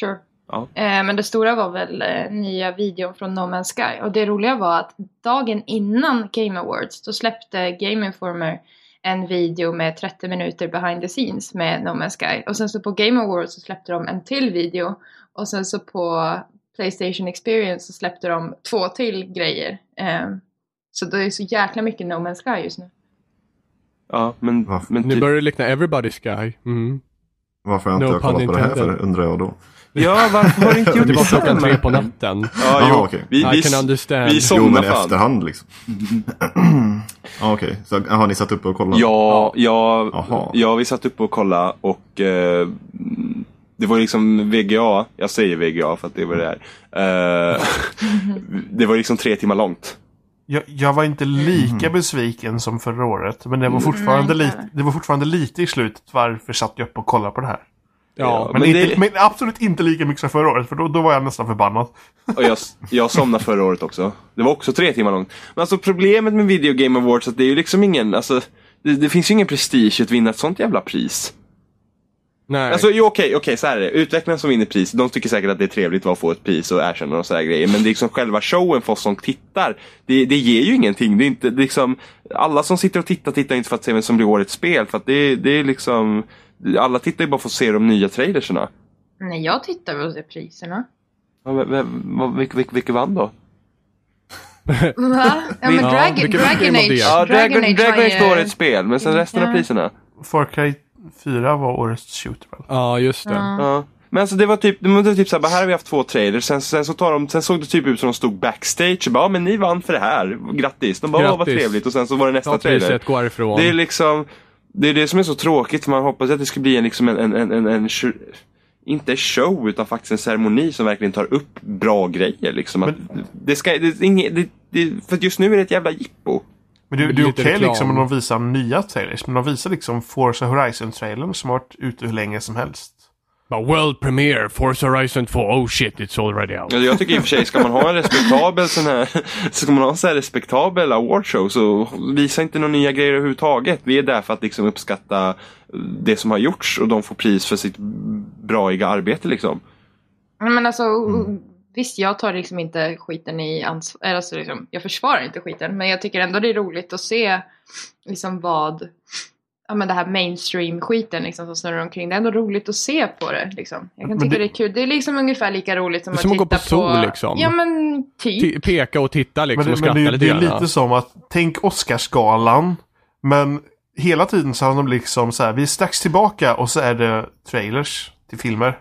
D: Sure.
E: Ja.
D: Eh, men det stora var väl eh, nya videon från No Man's Sky. Och det roliga var att dagen innan Game Awards då släppte Game Informer en video med 30 minuter behind the scenes med No Man's Sky. Och sen så på Game Awards så släppte de en till video. Och sen så på Playstation Experience så släppte de två till grejer. Eh, så det är så jäkla mycket No Man's Sky just nu.
E: Ja, men,
C: Va?
E: men
B: Nu
E: typ-
B: börjar det likna Everybody's Guy. Mm.
C: Varför jag inte
B: No
C: har kollat
B: pun
C: på det här
B: intended.
C: för undrar jag då.
E: Ja, varför har du inte gjort
B: Det var klockan
E: detsamma?
B: tre på natten.
E: Ja,
C: Jaha,
E: jo,
C: okej.
E: vi, vi,
B: I can understand.
E: vi
C: Jo men
E: somnade
C: i
E: fan.
C: efterhand liksom. ja okej, så har ni satt upp och kollat?
E: Ja, ja,
C: Jaha.
E: ja, vi satt uppe och kollade och eh, det var liksom VGA, jag säger VGA för att det var det här. Eh, det var liksom tre timmar långt.
A: Jag, jag var inte lika besviken som förra året. Men det var fortfarande,
D: Nej, inte
A: lite, det var fortfarande lite i slutet. Varför satt jag upp och kollade på det här?
B: Ja,
A: Men,
E: Men
A: inte,
E: det-
A: men absolut inte lika mycket som förra året. För då, då var jag nästan förbannad.
E: Och jag, jag somnade förra året också. Det var också tre timmar långt. Men alltså problemet med Video Game Awards är att det är ju liksom ingen, alltså det, det finns ju ingen prestige att vinna ett sånt jävla pris.
B: nej.
E: Alltså jo, okej, okej, så här är det. Utvecklarna som vinner pris, de tycker säkert att det är trevligt att få ett pris och erkänna och sådär grejer. Men det är liksom själva showen för oss som tittar, det, det ger ju ingenting. Det är inte det är liksom, alla som sitter och tittar, tittar inte för att se vem som blir årets spel. För att det, det är liksom, alla tittar ju bara för att se de nya trailerserna.
D: Nej, jag tittar väl på priserna.
E: Ja, men- men- vad- vilka- vilka- Vilka vann då?
D: Va? Ja, men
B: Ja,
D: Drag-
B: vilket
D: Dragon
B: Game of
D: Age.
B: the Year?
E: Ja, Dragon,
D: Age
E: Dragon
D: var
E: Age var
D: ju-
E: årets spel, men sen resten av
D: Ja.
E: priserna.
A: Far Cry 4 var årets shooter. väl?
B: Ja, just det.
D: Ja.
E: Ja. Men alltså det var typ, det var typ såhär, bara, här har vi haft två trailers, sen, sen, så tar de, sen såg det typ ut som de stod backstage och bara, ja men ni vann för det här, grattis. De bara, "Åh, vad
B: Grattis.
E: trevligt. Och sen så var det nästa
B: Ta
E: trailer.
B: priset, gå härifrån.
E: Det är liksom, det är det som är så tråkigt, för man hoppas att det ska bli en, liksom en, en, en, en, en sh- inte show, utan faktiskt en ceremoni som verkligen tar upp bra grejer liksom. Att, det ska, det, är inget- det, det, för att just nu är det ett jävla jippo.
A: Men det, det är
B: Lite
A: okej
B: reklam.
A: liksom om de visar nya trailers. Men de visar liksom Forza Horizon-trailern som har varit ute hur länge som helst.
B: Bara, World premiere, Forza Horizon 2. Oh shit, it's already out.
E: Ja, Alltså, Jag tycker i och för sig, ska man ha en respektabel sån här, ska man ha en sån här respektabel awardshow så visa inte några nya grejer överhuvudtaget. Vi är där för att liksom uppskatta det som har gjorts och de får pris för sitt braiga arbete liksom.
D: Nej, Men alltså,
B: Mm.
D: visst jag tar liksom inte skiten i ansvar, alltså liksom, jag försvarar inte skiten, men jag tycker ändå det är roligt att se liksom vad, ja men det här mainstream-skiten liksom som snurrar omkring, det är ändå roligt att se på det liksom. Jag kan
A: Men
D: tycka det...
A: det-
D: är kul, det är liksom ungefär lika roligt som,
B: Det är som att gå
D: titta
B: på zoo, liksom.
D: Ja men typ.
B: T- peka och titta liksom
A: Men det,
B: och skratta
A: men det, är-
B: lite
A: det är
B: grann.
A: lite som att tänk Oscarsgalan. Men hela tiden så har de liksom så här. Vi är strax tillbaka och så är det trailers till filmer.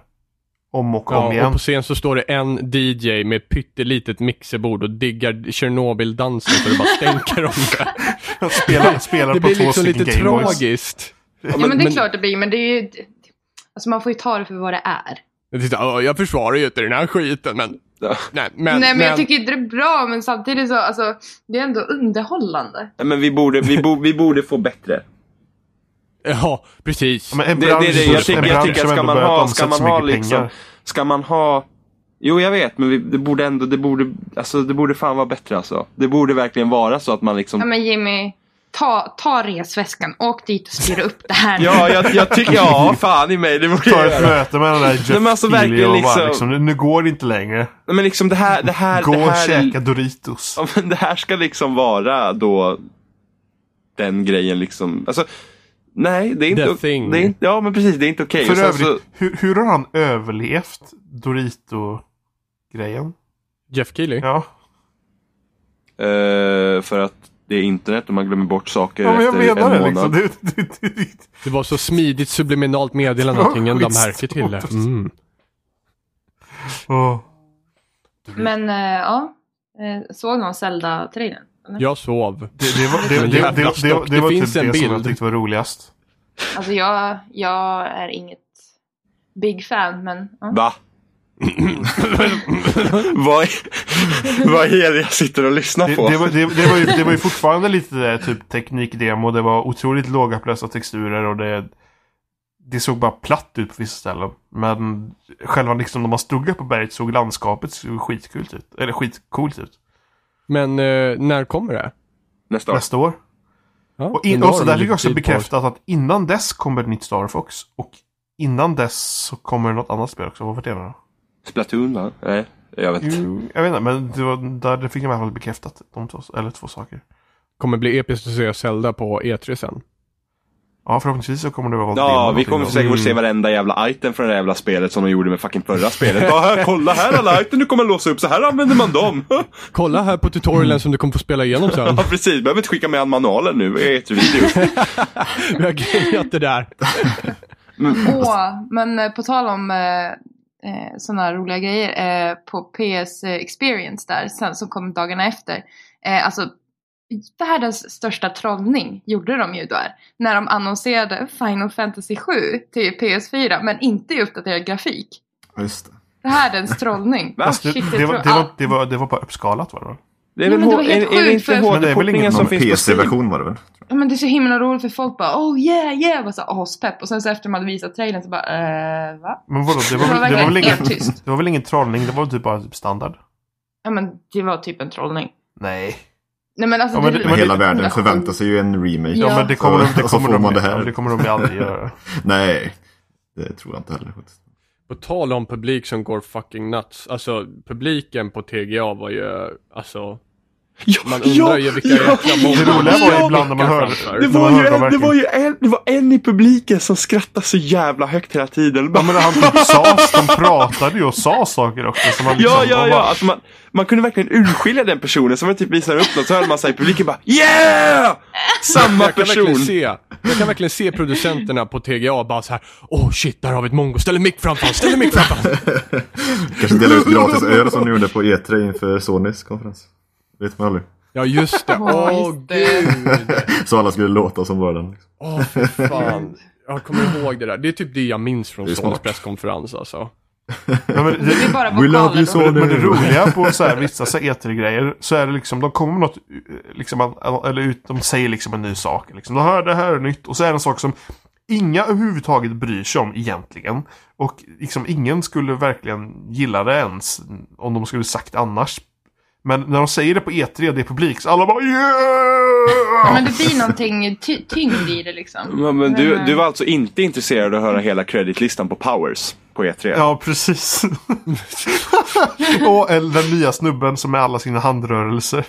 A: Om och om
B: Ja, och
A: igen.
B: på scen så står det en DJ med ett pyttelitet mixerbord och diggar Tjernobyl-dansen så det bara stänker om det.
A: spelar spelar
B: Det
A: på
B: blir
A: två
B: liksom
A: stycken
B: lite
A: Gameboys.
B: tragiskt.
D: Ja men det är klart det blir, men det är ju, alltså man får ju ta det för vad det är.
B: Jag, tyckte, "Åh, jag försvarar ju inte den här skiten men...
E: Ja.
B: Nej, men,
D: Nej men, jag tycker inte det är bra, men samtidigt så, alltså, det är ändå underhållande.
E: Nej, Men vi borde, vi, bo, vi borde få bättre.
B: Ja, precis.
A: Men en
E: Det, det,
A: bransch,
E: det, det, jag tycker,
A: en
E: jag
A: bransch
E: tycker
A: som
E: att ska
A: ändå
E: man
A: börjat
E: ha, ska
A: omsätta
E: man
A: så
E: ha
A: mycket
E: liksom,
A: pengar.
E: ska man ha Jo, jag vet, men vi, det borde ändå, det borde, alltså det borde fan vara bättre alltså. Det borde verkligen vara så att man liksom
D: Ja men Jimmy, ta, ta resväskan, åk dit och styr upp det här nu.
E: Ja, jag, jag tycker, ja, fan i mig, det borde
A: Ta
E: jag
A: ett
E: göra.
A: möte med den där Jeff
E: Nej, men alltså verkligen
A: Keighley och bara,
E: liksom-
A: liksom, nu- nu går det inte längre.
E: Nej, Men liksom det här, det här,
A: Gå
E: det
A: och
E: här är-
A: käka Doritos.
E: Ja, men det här ska liksom vara då den grejen liksom. Alltså, nej, det är inte...
B: The thing.
E: Det är, inte- ja, men precis. Det är inte okej. Och
A: För
E: sen
A: övrigt,
E: så-
A: hur, hur har han överlevt Dorito-grejen?
B: Jeff Keely?
A: Ja.
E: eh, för att det är internet och man glömmer bort saker
A: ja, men jag
E: efter
A: menar
E: en
A: det
E: månad.
A: liksom. Det, det, det, det,
B: Det var så smidigt subliminalt meddelande att
A: Ja,
B: ingen lade
A: visst.
B: märke till det. Mm.
A: Åh.
D: Men eh, ja, Eh, såg någon Zelda-trailern? eller?
B: Jag sov.
A: Det, det, var, det,
B: Men
A: det, det,
B: jävla
A: det, det,
B: stock. Det
A: var
B: finns
A: typ
B: en
A: det som jag
B: bild.
A: tyckte var roligast.
D: Alltså jag, jag är inget big fan men ja.
E: Va? vad, är, vad är det jag sitter och lyssnar
A: Det,
E: på?
A: det, var, det, det, var ju, det var ju eh, fortfarande lite det där, typ teknikdemo. Det var otroligt lågupplösta texturer och det... det såg bara platt ut på vissa ställen. Men själva liksom när man stod upp på berget såg landskapet såg skitkult ut. Eller skitcoolt ut.
B: Men eh, när kommer det?
E: Nästa år.
A: Nästa år.
B: Ja,
A: Och, in,
B: men då
A: och så
B: har
A: där
B: de
A: fick jag
B: lite
A: också
B: tid på sig.
A: bekräftat att innan dess kommer ett nytt Star Fox. Och innan dess så kommer något annat spel också. Vad var det nu då?
E: Splatoon va? Nej, jag vet inte.
A: Mm, Jag vet inte, men det var, där det fick jag i alla fall bekräftat. De två, eller två saker.
B: Kommer bli episkt att se Zelda på E3 sen.
A: Ja, förhoppningsvis så kommer det vara
E: Ja, vi kommer
A: någonting Mm.
E: säkert få se varenda jävla item från det jävla spelet som de gjorde med fucking förra spelet. Bara, här, kolla här alla item du kommer låsa upp, så här använder man dem.
B: Kolla här på tutorialen som du kommer få spela igenom sen.
E: Ja precis, behöver inte skicka med han manualen nu i ett video.
B: Vi har grejat det där.
C: Alltså,
D: Åh, men eh, på tal om eh, sådana här roliga grejer eh, på PS Experience där sen som kom dagarna efter. Eh, alltså världens största trollning gjorde de ju där. När de annonserade Final Fantasy 7 till PS4 men inte i uppdaterad grafik.
C: Ja, just det.
D: Världens trollning.
E: Va?
A: Fast det,
D: Oh, Shit, jag
A: det, var,
D: tror-
A: det, var,
D: ah,
A: det, var, det var bara uppskalat var det väl?
E: Det
D: Ja, men det var helt
E: är, är det
D: sjukt
E: inte
D: för-
A: Men det är väl
E: HD-portningen
A: ingen-
E: som
C: Någon
E: finns på Steam?
C: PC-version var det väl?
D: ja, men det är så himla roligt för folk bara oh yeah yeah var så aspepp och sen så efter man hade visat trailern så bara eh, va?
A: Men vadå, det
D: Det
A: var,
D: var
A: väl- det var,
D: verkligen
A: väl ingen,
D: helt tyst.
A: det var väl ingen trollning? Det var väl typ bara typ standard?
D: Ja men det var typ en trollning.
A: Nej.
D: Nej men alltså
A: Ja, men det-
C: Men hela
A: det-
C: världen förväntar sig ju en remake.
A: Ja,
D: Ja.
A: men det kommer, de- det
C: Och så
A: kommer,
C: Alltså, får man
A: de,
C: det här.
A: ja, det kommer de ju aldrig göra.
C: Nej, det tror jag inte heller. faktiskt.
B: På tal om publik som går fucking nuts. Alltså publiken på TGA var ju, alltså.
E: Ja,
B: Man undrar ju vilka jäkla
A: Det
B: många
A: roliga var ju
B: som
A: ibland när man
B: blickar
A: hörde...
B: framför.
E: Det
A: när man
E: var, ju
A: hörde dem
E: en, det,
A: verkligen-
E: var ju en, det var en i publiken som skrattade så jävla högt hela tiden.
A: Ja, men han typ sa, de pratade ju och sa saker också. Så man liksom,
E: Ja, ja,
A: man
E: ja.
A: bara,
E: Alltså man, man kunde verkligen urskilja den personen som man typ visade upp något. Så hörde man sig i publiken bara Yeah! Samma
B: Jag kan, verkligen
E: person.
B: se, jag kan verkligen se producenterna på TGA bara så här. Åh shit, där har vi ett mongo. Ställ en mick framför honom, ställ en mick framför honom.
C: Kanske dela ut gratis öl som ni gjorde på E3 inför Sonys konferens. Vet man aldrig.
B: Ja just det,
D: Ja,
B: åh
D: just det.
B: gud.
C: Så alla skulle låta som bara den. Liksom.
B: Åh fy fan. Jag kommer ihåg det där. Det är typ det jag minns från
C: Det är
B: Sonys
C: smart.
B: presskonferens alltså.
A: ja, men
D: Det är
A: det,
D: bara
C: We love
D: vokaler
C: you
D: då.
C: so-
A: men, men det roliga på så här, vissa så här E3-grejer så är det liksom, de kommer med något, eh, liksom, att- eller ut, de säger liksom en ny sak. Liksom. De hör det här är nytt och så är det en sak som inga överhuvudtaget bryr sig om egentligen. Och liksom ingen skulle verkligen gilla det ens om de skulle sagt annars. Men när de säger det på E3 och det är publik så alla bara
D: Ja,
A: yeah!
D: men det blir någonting ty- tyngd i det liksom.
E: Ja, men du,
D: Men, eh,
E: du var alltså inte intresserad av att höra hela kreditlistan på Powers på E E3?
A: Ja, precis. och eller den nya snubben som med alla sina handrörelser.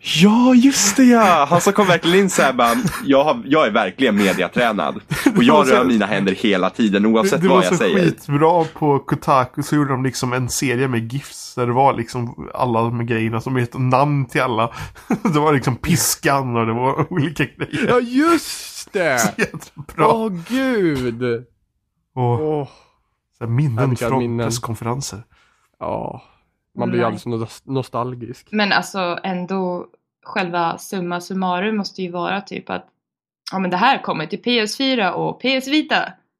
E: Ja, just det ja! Han som kom verkligen in såhär bara, jag, har, jag är verkligen mediatränad. Och
A: var
E: jag
A: så-
E: rör mina händer hela tiden
A: Det,
E: oavsett
A: det var
E: vad jag
A: så
E: säger.
A: skitbra på Kotaku så gjorde de liksom en serie med GIFs där det var liksom alla de här grejerna som hette namn till alla. det var liksom piskan och det var olika grejer.
B: Ja just det.
A: Jättebra.
B: Åh gud.
A: Och
B: Åh.
A: så här,
B: Ja,
A: minnen
B: vilka
A: från
B: minnen.
A: presskonferenser.
B: Ja. Man blir
D: Nej.
B: alldeles nos- nostalgisk.
D: Men alltså ändå själva summa summarum måste ju vara typ att ja men det här kommer till PS4 och PS Vita.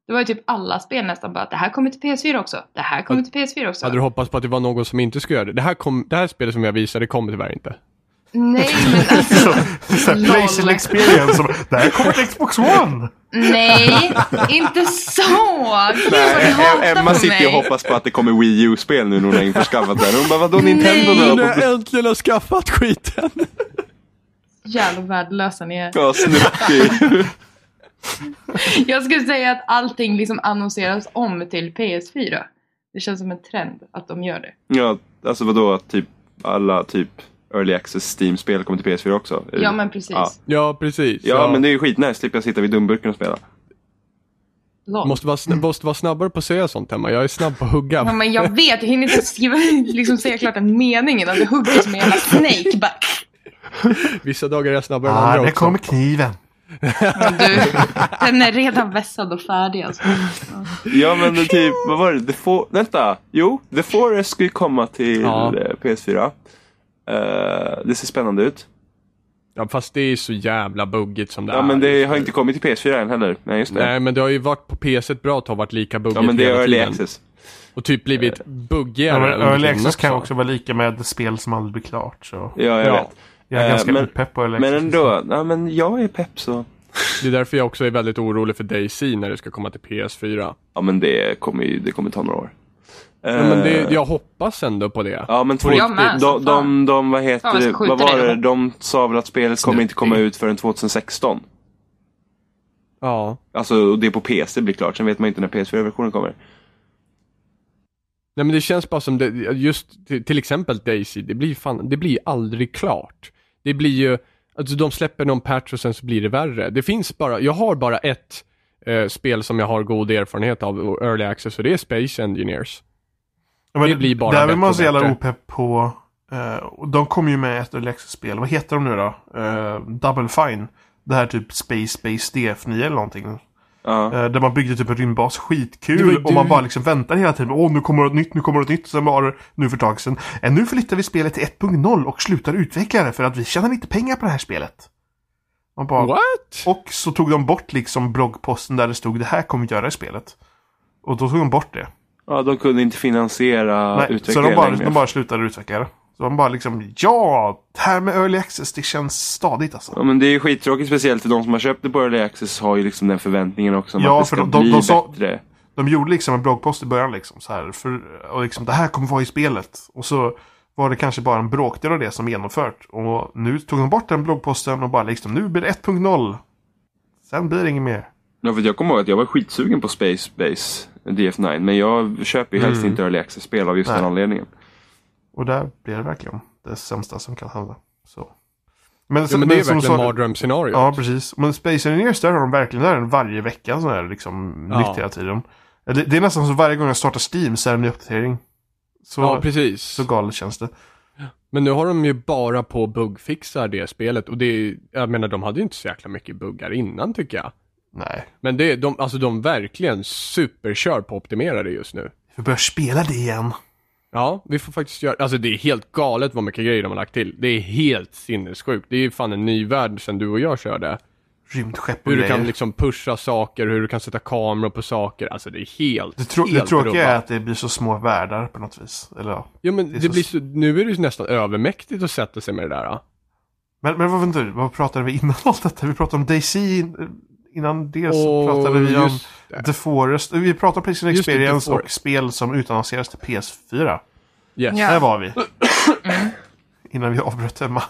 D: Det var ju typ alla spel nästan bara att det här kommer till PS4 också. Det här kommer till PS4 också.
B: Hade du hoppats på att det var någon som inte skulle göra det? Det här, kom, det här spelet som jag visade kommer tyvärr inte.
D: Nej men alltså.
A: Så, så här,
D: Lol.
A: PlayStation experience. Som, det här kommer till Xbox One!
D: Nej, inte så! Gud
E: Nej,
D: vad ni
E: Em-
D: hatar
E: Emma
D: på
E: sitter ju och
D: mig.
E: hoppas på att det kommer Wii U-spel nu när hon har införskaffat den. Hon bara, vadå Nintendo
D: Nej.
E: då?
B: När jag äntligen har skaffat skiten.
D: Jävla värdelösa ni är.
E: Ja, snuckig.
D: Jag skulle säga att allting liksom annonseras om till PS4. Det känns som en trend att de gör det.
E: Ja, alltså vadå att typ alla typ Early Access Steam-spel kommer till PS4 också?
D: Ja men precis.
E: Ja.
B: Ja, precis.
E: Ja, men det är ju skitnice, slipper jag sitta vid dumburken och spela.
D: Lol.
B: Måste vara, sn- måste vara snabbare på att säga sånt Emma. Jag är snabb på att hugga.
D: Ja, men jag vet, jag hinner inte ens skriva, liksom säga klart en mening innan det hugger som en jävla snake. Bara,
B: Vissa dagar är jag snabbare än
A: Ah,
B: andra
A: där
B: också.
A: kommer kniven.
D: men du, den är redan vässad och färdig alltså.
E: Ja, men det typ, vad var det? The For- Vänta, jo, The Forest ska ju komma till
B: Ja.
E: eh, PS4. Eh, det ser spännande ut.
B: Ja, fast det är så jävla buggigt som det
E: Ja,
B: är.
E: men det
B: just
E: har
B: nu.
E: inte kommit till PS4 än heller. Nej, just det.
B: Nej, men det har ju varit på PS ett bra tag varit lika buggigt
E: ja, men det är
B: hela
E: Early
B: tiden.
E: Access. Eh,
B: Och typ blivit buggigare.
A: Ja, men
B: under
A: Early
B: tiden
A: Access kan också vara lika med spel som aldrig blir klart. Så
E: Ja, jag
B: Ja.
E: vet.
A: jag är
E: Eh,
A: ganska
E: men-
A: opepp på Early
E: Men
A: Access.
E: ändå, ja, men jag är pepp så.
B: Det är därför jag också är väldigt orolig för DayZ när det ska komma till PS4.
E: Ja men det kommer ju det kommer ta några år. Eh,
B: Ja, men det, jag hoppas ändå på det.
E: Ja men på
D: Jag
E: riktigt.
D: med, som
E: De, de,
D: fan.
E: de, vad heter
D: Fan, jag ska
E: det?
D: skjuta
E: Vad var
D: dig,
E: det?
D: då.
E: De sa väl att spelet kommer inte komma ut förrän 2016.
B: Ja.
E: Alltså och det är på PC blir klart. Sen vet man inte när PS4-versionen kommer.
B: Nej men det känns bara som det, just till, till exempel Daisy, det blir fan, det blir aldrig klart. Det blir ju, alltså de släpper någon patch och sen så blir det värre. Det finns bara, jag har bara ett eh, spel som jag har god erfarenhet av, och early access, och det är Space Engineers.
A: Ja, men
B: Det blir bara
A: Där blir
B: bättre
A: man
B: och
A: så jävla
B: bättre.
A: opepp på. eh, och de kom ju med ett Alexis-spel. Vad heter de nu då? Eh, Double Fine. Det här typ Space Space DF9 eller någonting.
E: Ja.
A: Eh, där man byggde typ en rymdbas.
B: Det var ju
A: Skitkul. Och
B: du-
A: man bara liksom väntar hela tiden. Åh, nu kommer något nytt, nu kommer något nytt. Sen var det nu för ett tag sedan. "Eh, nu flyttar vi spelet till 1.0 och slutar utveckla det för att vi tjänar inte pengar på det här spelet. Man bara,
B: What?
A: och så tog de bort liksom bloggposten där det stod det här kommer vi göra i spelet. Och då tog de bort det.
E: ja de kunde inte finansiera
A: Nej, så
E: utvecklingen
A: de bara,
E: längre.
A: de bara slutade utveckla det. Så de bara liksom, ja! Det här med Early Access, det känns stadigt alltså.
E: Ja men det är ju skittråkigt speciellt till de som har köpt det på Early Access har ju liksom den förväntningen också om
A: Ja,
E: att det
A: för
E: ska
A: de- de-
E: bli
A: de sa-
E: bättre.
A: De gjorde liksom en bloggpost i början liksom så här. För, och liksom, det här kommer vara i spelet. Och så var det kanske bara en bråkdel av det som genomfört. Och nu tog de bort den bloggposten och bara liksom, nu blir det 1.0. Sen blir det inget mer.
E: Ja, för jag kommer ihåg att jag var skitsugen på Space Base DF9 men jag köper ju helst inte Early Access-spel av just
A: Mm. Nej.
E: den anledningen.
A: Och där blir det verkligen det sämsta som kan hända. Så. Men,
B: Ja, men det är verkligen
A: sa-
B: mardrömsscenario.
A: Ja, precis. Men Space Engineers, där har de verkligen där är en varje vecka sån här liksom
B: Ja.
A: nytt hela tiden. Ja, Det, det är nästan så varje gång jag startar Steam så är det en ny uppdatering. Så,
B: Ja, precis.
A: så galet känns det.
B: Men nu har de ju bara på bugfixar det spelet och det är, jag menar de hade ju inte så jäkla mycket buggar innan tycker jag.
A: Nej.
B: Men det, de, alltså de verkligen superkör på att optimera det just nu.
A: Vi börjar spela det igen.
B: Ja, vi får faktiskt göra, alltså det är helt galet vad mycket grejer de har lagt till. Det är helt sinnessjukt. Det är ju fan en ny värld sen du och jag körde.
A: Rymdskepp och
B: Hur du
A: grejer.
B: kan liksom pusha saker, hur du kan sätta kameror på saker. Alltså det är helt,
A: det, trå- det
B: helt
A: tråkiga är
B: rubbat.
A: att det blir så små världar på något vis. Eller, ja.
B: Ja men
A: det är
B: det,
A: så-
B: blir så, nu är det ju nästan övermäktigt att sätta sig med det där. ja.
A: men, men vad, vänta, vad pratade vi innan allt detta? Vi pratade om DayZ. in- Innan det så
B: Och
A: pratade vi om
B: just det.
A: The Forest. Vi pratade om PlayStation
B: Just det, The
A: Experience och
B: Forest.
A: spel som utannonseras till PS4.
B: Yes.
D: Ja.
A: Där var vi. Innan vi avbröt Emma.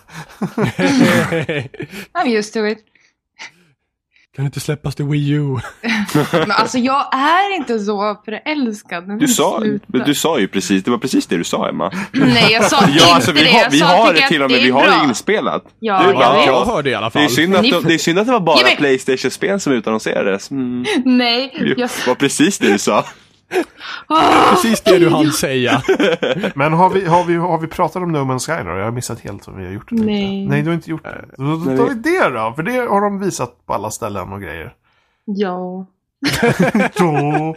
D: I'm used to it.
B: kan inte släppas till Wii U?
D: Men alltså jag är inte så förälskad. Nu får
E: Du sa,
D: sluta.
E: du sa ju precis, det var precis det du sa Emma.
D: Nej, jag sa inte
E: Ja, alltså, vi
D: det.
E: har,
D: Jag
E: vi
D: sa
E: har
D: att
E: det
D: jag-
E: till och med,
D: det är
E: vi har
D: bra.
E: det inspelat.
D: Ja,
E: Du
D: jag
E: bara,
D: vet.
B: Jag
E: ja,
B: hörde i alla
E: det, är
B: fall.
E: synd att
D: Ni
E: de,
D: får-
E: det är synd att det var
D: Ge
E: bara
D: mig-
E: Playstation-spel som utannonserades. Mm,
D: Nej,
E: det
D: jag
E: var precis det du sa.
B: Precis det du hann säga.
A: Men har vi, har, vi, har vi pratat om No Man's Sky då? Jag har missat helt om vi har gjort det. tänkte jag.
D: Nej.
A: Nej, du har inte gjort det. Då, då
E: Nej,
A: tar
E: vi-
A: vi det då. För det har de visat på alla ställen och grejer.
D: Ja.
A: Då.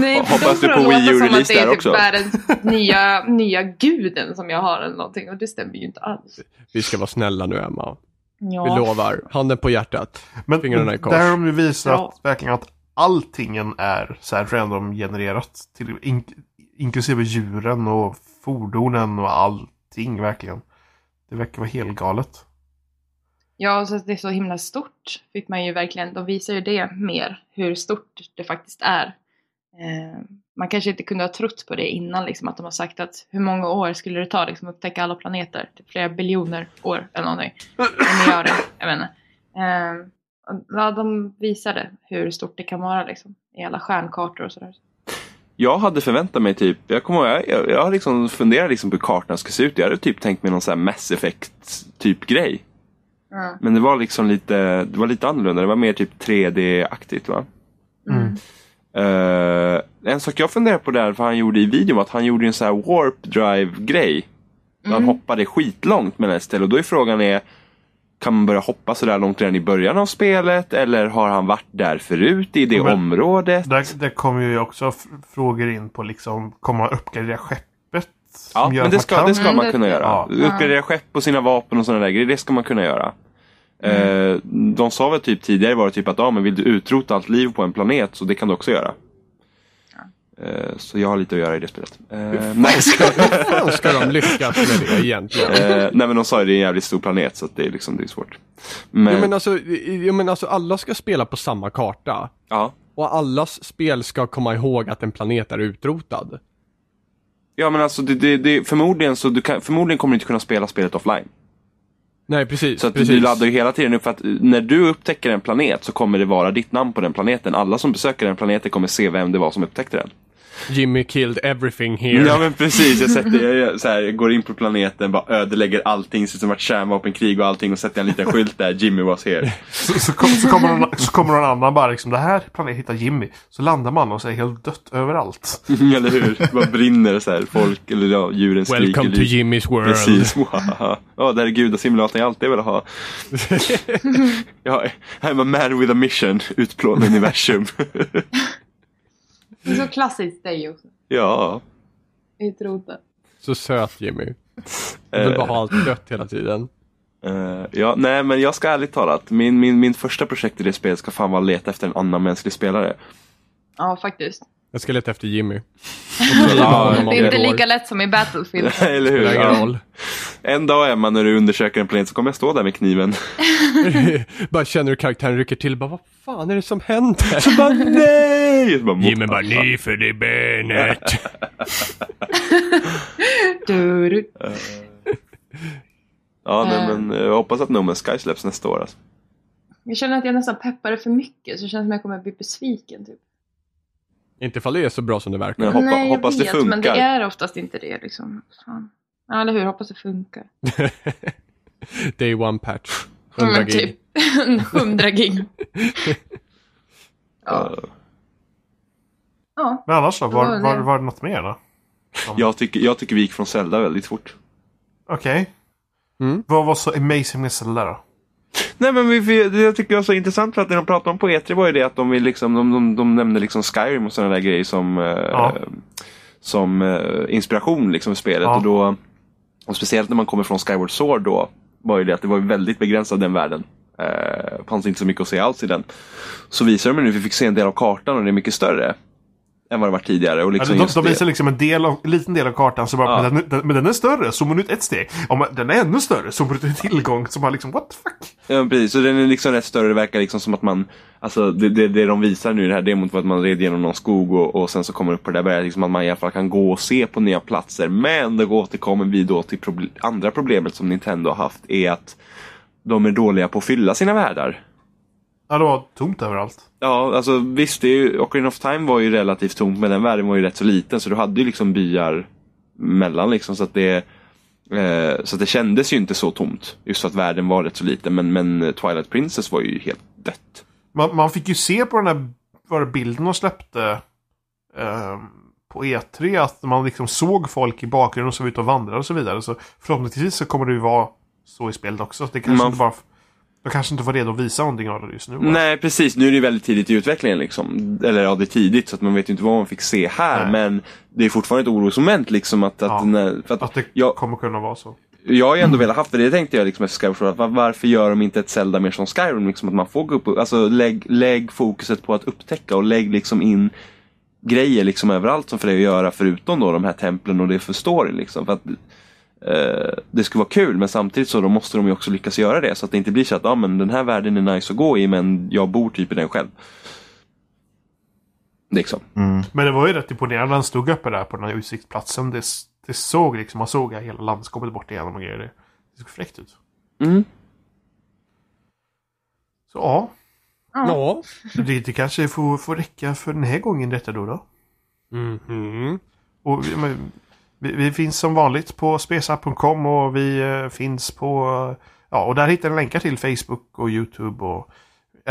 D: Nej,
E: Hoppas
D: för de
E: du
D: får
E: på
D: det
E: Wii
D: låta som
E: U-release
D: att det är
E: där
D: typ
E: också.
D: världens nya, nya guden som jag har eller någonting och det stämmer ju inte alls.
B: Vi ska vara snälla nu Emma.
D: Ja.
B: Vi lovar. Handen på hjärtat.
A: Men
B: Fingrarna i kors.
A: där har de ju visat
D: Ja.
A: verkligen att alltingen är så här random-genererat. Till, ink- inklusive djuren och fordonen och allting verkligen. Det verkar vara helt galet.
D: Ja, och så att det är så himla stort fick man ju verkligen, de visar ju det mer, hur stort det faktiskt är. Eh, man kanske inte kunde ha trott på det innan, liksom, att de har sagt att hur många år skulle det ta liksom, att upptäcka alla planeter? Typ flera biljoner år eller någonting. Eller miljarder, jag vet inte. Eh, och, ja, de visade hur stort det kan vara liksom, i alla stjärnkartor och sådär.
E: Jag hade förväntat mig typ, jag kommer ihåg, jag- jag, jag liksom funderade liksom på hur kartorna skulle se ut. Jag hade typ tänkt mig någon sån här Mass Effect typ grej.
D: Ja.
E: Men det var liksom lite, det var lite annorlunda. Det var mer typ 3D-aktigt va?
A: Mm.
E: Eh, en sak jag funderar på där, för han gjorde i videon, var att han gjorde en sån här warp drive-grej. Där
D: Mm.
E: Han hoppade skitlångt med Nestel och då är frågan är kan man börja hoppa sådär långt redan i början av spelet eller har han varit där förut i det
A: Men-
E: området?
A: Där, där kommer ju också f- frågor in på liksom, kommer man uppgradera skeppet? som
E: Ja,
A: gör
E: men
A: att
E: det
A: man
E: ska,
A: kan-
E: det ska
D: Mm,
E: man
D: det-
E: kunna göra.
A: Ja.
E: Uppgradera skepp och sina vapen och sådana där grejer, det ska man kunna göra. Eh, de sa väl typ tidigare var det typ att ah, men vill du utrota allt liv på en planet så det kan du också göra. Eh, Så jag har lite att göra i det spelet. Eh, Nej, jag skojar.
B: Fan ska de lyckas med det egentligen?
E: Eh, nej men de sa ju det är en jävligt stor planet så att det är liksom det är svårt. Men,
B: Jag menar, alltså, jag menar alltså, alla ska spela på samma karta.
E: ja.
B: Och allas spel ska komma ihåg att en planet är utrotad.
E: ja men alltså det, det, det, förmodligen, så du kan, förmodligen kommer du inte kunna spela spelet offline.
B: Nej, precis.
E: Så att
B: precis.
E: du laddar ju hela tiden upp för att eh, när du upptäcker en planet så kommer det vara ditt namn på den planeten. Alla som besöker den planeten kommer se vem det var som upptäckte den.
B: Jimmy killed everything here.
E: Ja men precis, jag, sätter, jag, jag, så här, jag går in på planeten, bara ödelägger allting, ser ut som ett kärnvapenkrig och allting och sätter en liten skylt där, Jimmy was here.
A: Så, så, kom, så, kommer någon, så kommer någon annan bara liksom, det här planet hittar Jimmy. Så landar man och så är det helt dött överallt.
E: eller hur? Det bara brinner så här, folk eller ja, djuren skriker.
B: Welcome to
E: lik.
B: Jimmy's world.
E: Precis, ja det här är gudasimulatorn jag alltid velat ha. ja, I'm a man with a mission, utplåna universum.
D: Det är så klassiskt dig också.
E: ja.
D: Utrota.
B: Så söt Jimmy.
E: eh,
B: Vill bara ha allt dött hela tiden.
E: eh, ja, nej men jag ska ärligt talat, min, min, min första projekt i det spelet ska fan vara att leta efter en annan mänsklig spelare.
D: Ja, faktiskt.
B: Jag ska leta efter Jimmy.
E: Ja,
D: det är inte
B: det går.
D: lika lätt som i Battlefield.
E: Eller hur?
B: Spelar ingen
E: Ja.
B: roll.
E: En dag Emma när du undersöker en planet så kommer jag stå där med kniven.
B: bara känner hur karaktären rycker till. Bara, vad fan är det som händer?
E: bara, nej! Så bara,
B: Jimmy bara, ny för det benet.
D: Du, du.
E: Ja, nej,
D: Eh.
E: men eh, jag hoppas att No Man's Sky släpps nästa år. Alltså.
D: Jag känner att jag nästan peppar det för mycket så det känns som att jag kommer bli besviken. Typ.
B: Inte ifall det är så bra som det verkar.
E: Men jag hoppa,
D: Nej, jag
E: hoppas
D: vet,
E: det funkar.
D: men det är oftast inte det. Liksom. Fan. Ja, eller hur? Hoppas det funkar.
B: Day one patch.
D: Ja,
B: 100
D: men
B: gig.
D: typ 100 gig. ja.
E: Eh,
D: ja,
A: Men annars då?
D: Ja,
A: Var,
D: det-
A: var, var det något mer då?
E: Jag, tycker, jag tycker vi gick från Zelda väldigt fort.
A: Okej.
B: Mm.
A: Vad var så amazing med Zelda då?
E: Nej men vi, vi, det jag tycker jag var så intressant för att när de pratade om på E3 var ju det att de, vill liksom, de, de, de nämnde liksom Skyrim och sådana där grejer som, eh,
A: Ja.
E: som eh, inspiration liksom i spelet.
A: Ja.
E: Och då, och speciellt när man kommer från Skyward Sword då var ju det att det var väldigt begränsat den världen. Eh, fanns inte så mycket att se alls i den. Så visar de nu, vi fick se en del av kartan och det är mycket större. Än vad det var tidigare. Och liksom
A: Alltså,
E: just
A: de, de
E: det.
A: visar liksom en, del av, en liten del av kartan. Så bara,
E: Ja.
A: men, den, den, men den är större, zoomar ut ett steg. Ja, men den är ännu större, zoomar ut en tillgång. Så man liksom, what the fuck?
E: Ja, men precis. Så den är liksom rätt större. Det verkar liksom som att man... Alltså det, det, det de visar nu i det här demot var att man red genom någon skog och, och sen så kommer det upp på det där berget. Liksom att man i alla fall kan gå och se på nya platser. Men då återkommer vi då till proble- andra problemet som Nintendo har haft. Är att de är dåliga på att fylla sina världar.
A: Ja, det var tomt överallt.
E: Ja, alltså visst, det är ju, Ocarina of Time var ju relativt tomt, men den världen var ju rätt så liten. Så du hade ju liksom byar mellan liksom. Så att det, eh, så att det kändes ju inte så tomt. Just för att världen var rätt så liten. Men, men Twilight Princess var ju helt dött.
A: Man, man fick ju se på den här var det bilden de släppte ehm, på E3 att man liksom såg folk i bakgrunden som var ute och vandrade och så vidare. Så förhoppningsvis så kommer det ju vara så i spelet också. Det kanske
E: Man-
A: inte bara... De kanske inte var redo att visa någonting av det just nu.
E: Nej, precis. Nu är det ju väldigt tidigt i utvecklingen. Liksom. Eller ja, det är tidigt så att man vet ju inte vad man fick se här.
A: Nej.
E: Men det är fortfarande ett orosmoment. Liksom, att, att,
A: Ja.
E: när, för att,
A: Att det
E: jag,
A: kommer kunna vara så.
E: jag har ju ändå velat haft det. Det tänkte jag liksom efter Skyrim. För att, var- varför gör de inte ett Zelda mer som Skyrim? Liksom, att man får gå upp och, alltså, lägg, lägg fokuset på att upptäcka och lägg liksom in grejer liksom överallt som för dig att göra förutom då de här templen och det för storyn. Liksom, för att, eh, det skulle vara kul men samtidigt så då måste de ju också lyckas göra det så att det inte blir så att ah, men den här världen är nice att gå i men jag bor typ i den själv. Liksom.
A: Men det var ju rätt imponerande. Han stod uppe där på den här utsiktsplatsen. Det, det såg liksom, man såg hela landskapet bort igenom och grejer. Det, det såg fräckt ut.
E: Mm.
A: Så ja,
B: Ja.
A: det, det kanske får, får räcka för den här gången detta då. då.
B: Mhm.
A: Och vi, men, vi, vi finns som vanligt på spesa.com och vi eh, finns på... eh, Ja, och där hittar ni länkar till Facebook och YouTube och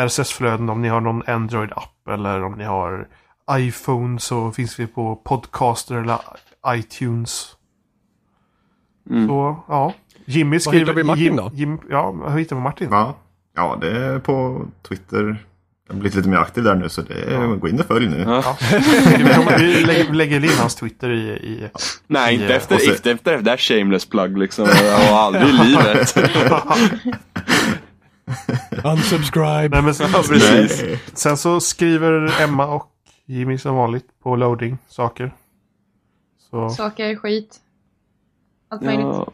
A: RSS-flöden om ni har någon Android-app eller om ni har iPhone så finns vi på Podcaster eller iTunes. Så, ja. Jimmy skriver...
B: hittar vi Martin
A: Jim,
B: då?
A: Jim, ja, hur hittar vi Martin?
C: Ja. ja, det är på Twitter. Jag har blivit lite mer aktiv där nu så det är, gå in och följ nu.
E: Ja.
A: Vi, kommer, vi lägger, lägger in hans Twitter i... i
E: Nej, inte
A: Ja.
E: efter,
C: Och så-
E: efter, efter det där shameless plug liksom. Jag har aldrig i livet.
B: Unsubscribe.
A: nej, men sen,
E: Precis.
C: Nej.
A: sen så skriver Emma och Jimmy som vanligt på loading saker. Så,
D: Saker, skit. Allt möjligt.
E: Ja,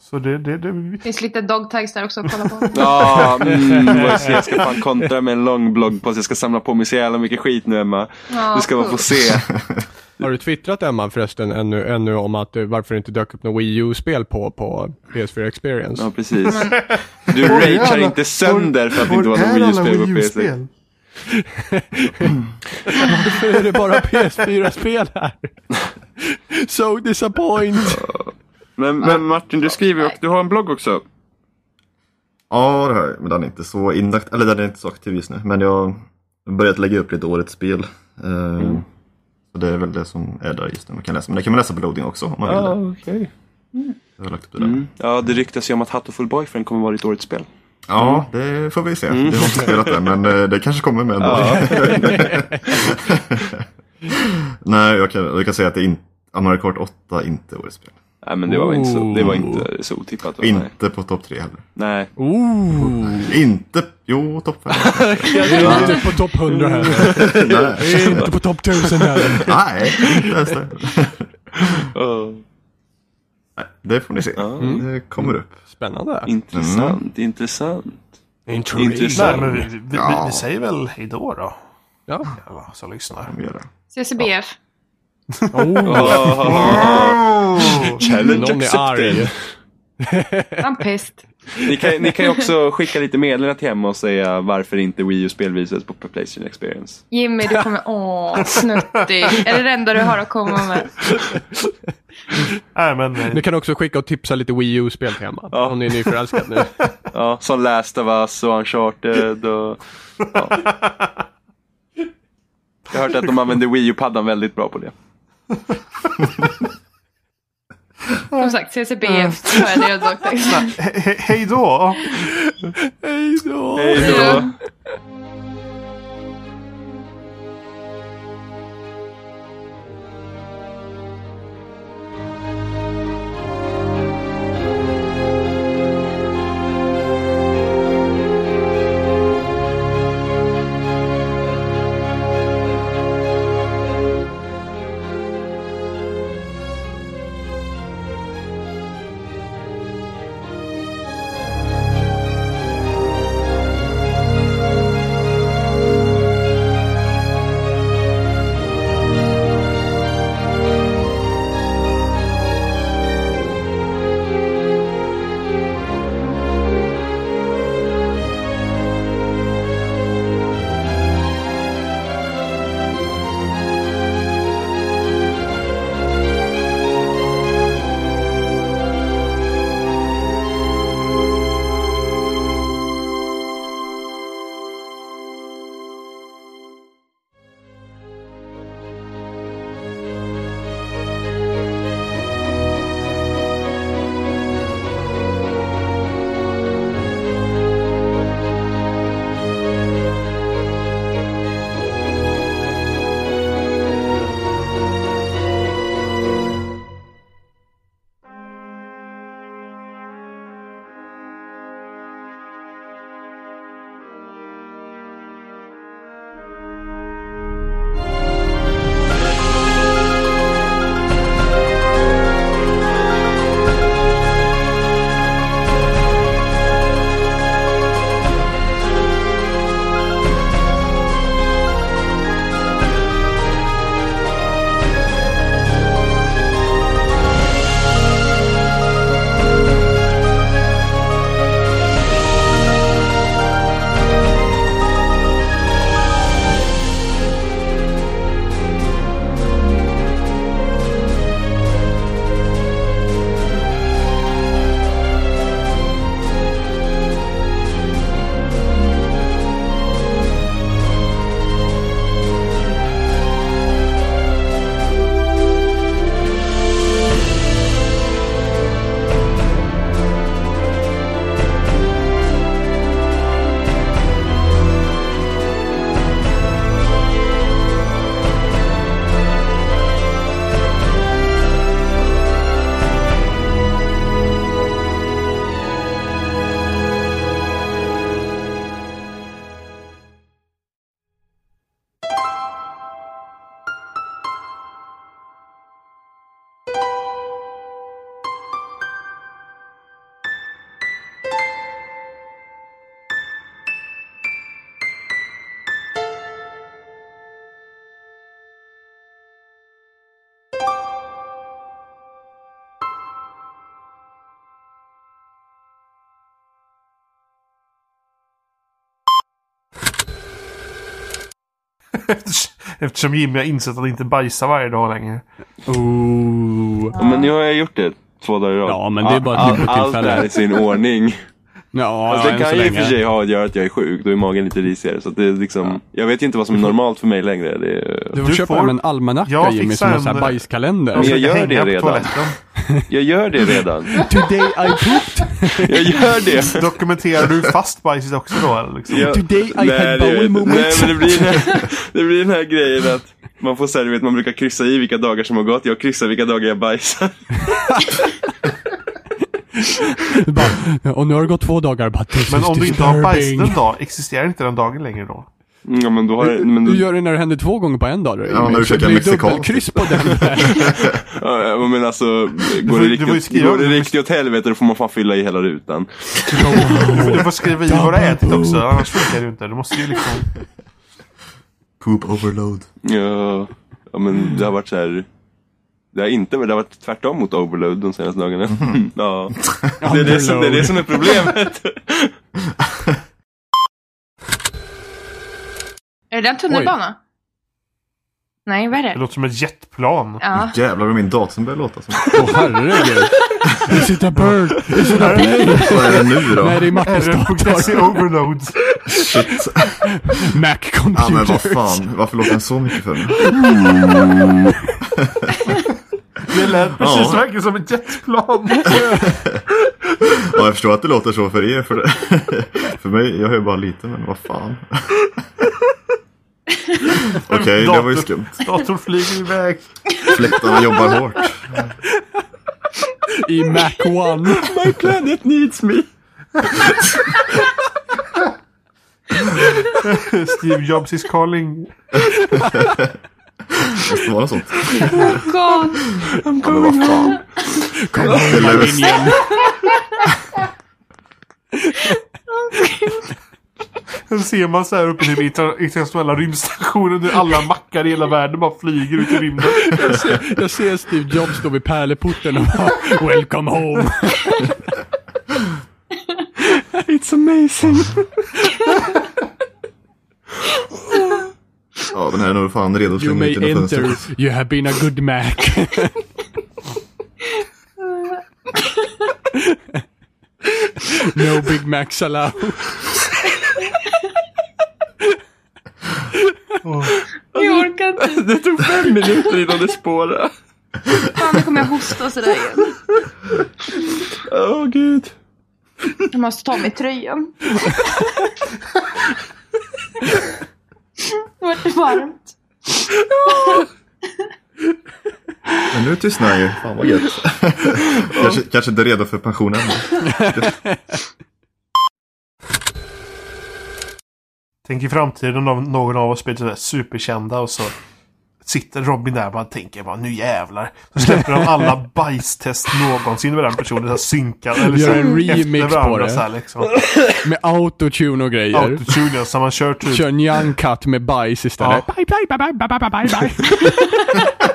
A: så det, det, det...
D: Det finns lite dog tags där också att kolla på.
E: ja mm, vad jag ska- jag ska fan kontra med en lång bloggpost. Jag ska samla på mig så jävla mycket skit nu Emma.
D: Ja,
E: Du ska bara få
D: cool.
E: se.
B: Har du twittrat Emma förresten ännu, ännu om att eh, varför det inte dök upp något Wii U-spel på, på PS4 Experience?
E: Ja, precis. Du ragear inte sönder för att det inte var någon Wii-spel på PC.
B: Varför är det bara PS4-spel här? so disappoint!
E: Men, men Martin, du skriver och du har en blogg också.
C: Ja, det har jag. Men den är inte så inakt, eller den är inte så aktiv just nu. Men jag har börjat lägga upp lite årets spel. Eh, Så det är väl det som är där just nu. Man kan läsa. Men det kan man läsa på loading också om man vill det.
B: okej.
C: Jag har lagt upp det där.
B: Mm.
E: Ja, det ryktas ju om att Hatoful Boyfriend kommer vara ditt årets spel.
C: Ja, det får vi se. Jag har inte spelat det, men eh, det kanske kommer med ändå. Nej, jag kan, jag kan säga att det är in, Mario Kart 8 är inte årets spel.
E: Nej, men det var, inte så, det var
B: Ooh.
E: inte så otippat. va? Nej.
C: Inte på topp 3 heller.
E: Nej.
B: Ooh!
C: Inte, jo, topp 5.
B: Inte på topp 100 heller. Inte på topp 1000 heller.
C: Nej, inte ens det.
E: Oh,
C: Nej, det får ni se. Det kommer upp.
B: Spännande. Mm.
E: Intressant, intressant.
A: Nej,
B: Intressant.
A: men vi, vi, vi,
C: Ja.
A: vi säger väl hejdå då.
B: Ja.
A: Alla som lyssnar.
C: Kommer göra.
D: CCBF.
B: Oh,
E: Oh. Challenge
B: någon är arg.
E: accepted.
D: Han pest.
E: Ni kan, ni kan ju också skicka lite meddelanden till hemma och säga varför inte Wii U-spel visas på Playstation Experience.
D: Jimmy, du kommer... Åh, snuttig. Är det det enda du har att komma med?
A: Nej, men... eh,
B: Ni kan också skicka och tipsa lite Wii U-spel till Emma. Om ni är nyförälskad nu.
E: Ja, som Last of Us och Uncharted och... Ja. Jag har hört att de använder Wii U-paddan väldigt bra på det.
D: Som sagt, CCBF. Så är det dog tags.
A: he- he- Hejdå!
B: Hej då!
E: Hej då!
A: Eftersom Jimmy har insett att inte bajsa varje dag längre.
B: Oh.
E: Men nu har jag gjort det två dagar i rad.
B: Ja, men det är bara ett
E: All-
B: lyckotillfälle.
E: Allt är i sin ordning.
B: Ja,
E: Fast det
B: än så
E: kan ju i och för
B: länge.
E: sig ha att göra att jag är sjuk. Då är magen lite risigare. Så att det är liksom, jag vet inte vad som är normalt för mig längre. Det är,
B: Du får
A: Du
B: köpa
A: får-
B: hem en almanacka
A: Jag
B: Jimmy
A: fixar
B: som har en sån här
A: en-
E: Men
B: bajskalender.
E: jag gör
A: Hänga
E: det
A: på
E: redan.
A: toaletten.
E: jag gör det redan.
B: Today I pooped,
E: Jag gör det.
A: Dokumenterar du fast bajset också då? eller Liksom?
E: Jag,
B: today I
E: Nej,
B: had
E: det gör jag
B: bowel
E: inte. Nej,
B: movements.
E: men det blir, den här, det blir den här grejen att man får så här, du vet, man brukar kryssa i vilka dagar som har gått. Jag kryssar vilka dagar jag bajsar.
B: Du bara, och nu har det gått två dagar. Bara, "This
A: Men
B: is
A: om du inte har bajsat
B: disturbing."
A: en dag, existerar inte den dagen längre då?
E: Ja, men då har,
B: Du,
E: men då,
B: du gör det när det händer två gånger på en dag. då, Jimmy.
C: när du
B: Så det
C: käkar
B: blir
C: mexikan.
B: dubbelkryss på den.
E: Ja, ja, men alltså, går
A: får-
E: det
A: du får ju
E: riktigt,
A: skriva-
E: går det
A: du får-
E: riktigt åt helvete då får man fan fylla i hela rutan.
A: Du får skriva i vad du har ätit också, annars funkar det ju inte. Du måste ju liksom...
C: Poop overload.
E: Ja, ja men det har varit så här. Det har inte det har varit tvärtom mot overload de senaste dagarna. Ja. Det är det, som, det är det som är problemet.
D: Är det en tunnelbana? Nej, vad är
A: Det
D: det?
A: låter som ett jetplan.
D: Ja.
C: Jävlar vad min dator börjar låta som.
B: Åh herregud. Is it a bird? Is it a plane?
C: Vad är det nu då?
B: Nej, det är Mattes
A: RM.se
B: dator.
A: Overload.
C: Shit.
B: Mac
C: Ja men vad
B: computer.
C: fan, varför låter den så mycket för mig?
A: Det lät precis
C: Ja.
A: verkligen som ett jetplan.
C: Ja, jag förstår att det låter så för er. För, det. för mig, jag hör bara lite men vad fan. Okej, det var ju
A: Dator-
C: skumt.
A: Datorn flyger iväg.
C: Fläktarna jobbar hårt.
B: I Mac One.
E: My planet needs me.
A: Steve Jobs is calling.
C: Måste vara något sånt.
D: God.
C: Ja, men vad fan. Det löser
A: Sen ser man så här uppe i den inter- internationella rymdstationen hur alla mackar i hela världen bara flyger ut i rymden.
B: Jag ser, jag ser Steve Jobs stå vid pärleporten och bara Welcome home.
E: It's amazing.
C: Ja, den här är nog fan redo att
B: You
C: slänga
B: may
C: ut genom
B: enter.
C: fönstret.
B: You have been a good Mac. No Big Macs allowed.
D: Jag orkar inte.
E: Alltså, Det tog fem minuter innan det spårade.
D: Fan, nu kommer jag hosta och sådär igen.
E: Åh gud.
D: Jag måste ta av mig tröjan. Det vart varmt.
C: Men nu tystnar jag ju. Fan vad gött. kanske, kanske inte redo för pensionen.
A: Tänk i framtiden om någon av oss blir sådär superkända och så sitter Robin där och bara tänker bara nu jävlar. Så släpper de alla bajstest någonsin med den personen. Så här synkar eller så
B: Gör
A: här
B: en remix
A: efter
B: på
A: varandra så
B: det.
A: här liksom.
B: Med autotune och grejer.
A: Autotune ja, så man kör typ.
B: Kör en young cut med bajs istället. Bye, bye, bye, bye, bye, bye, bye, bye.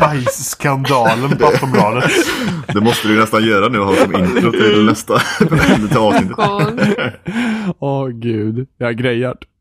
A: Bajsskandalen på Aftonbladet.
C: Det måste du ju nästan göra nu och ha som intro till nästa till avsnittet.
D: God.
B: Åh gud, jag har grejat.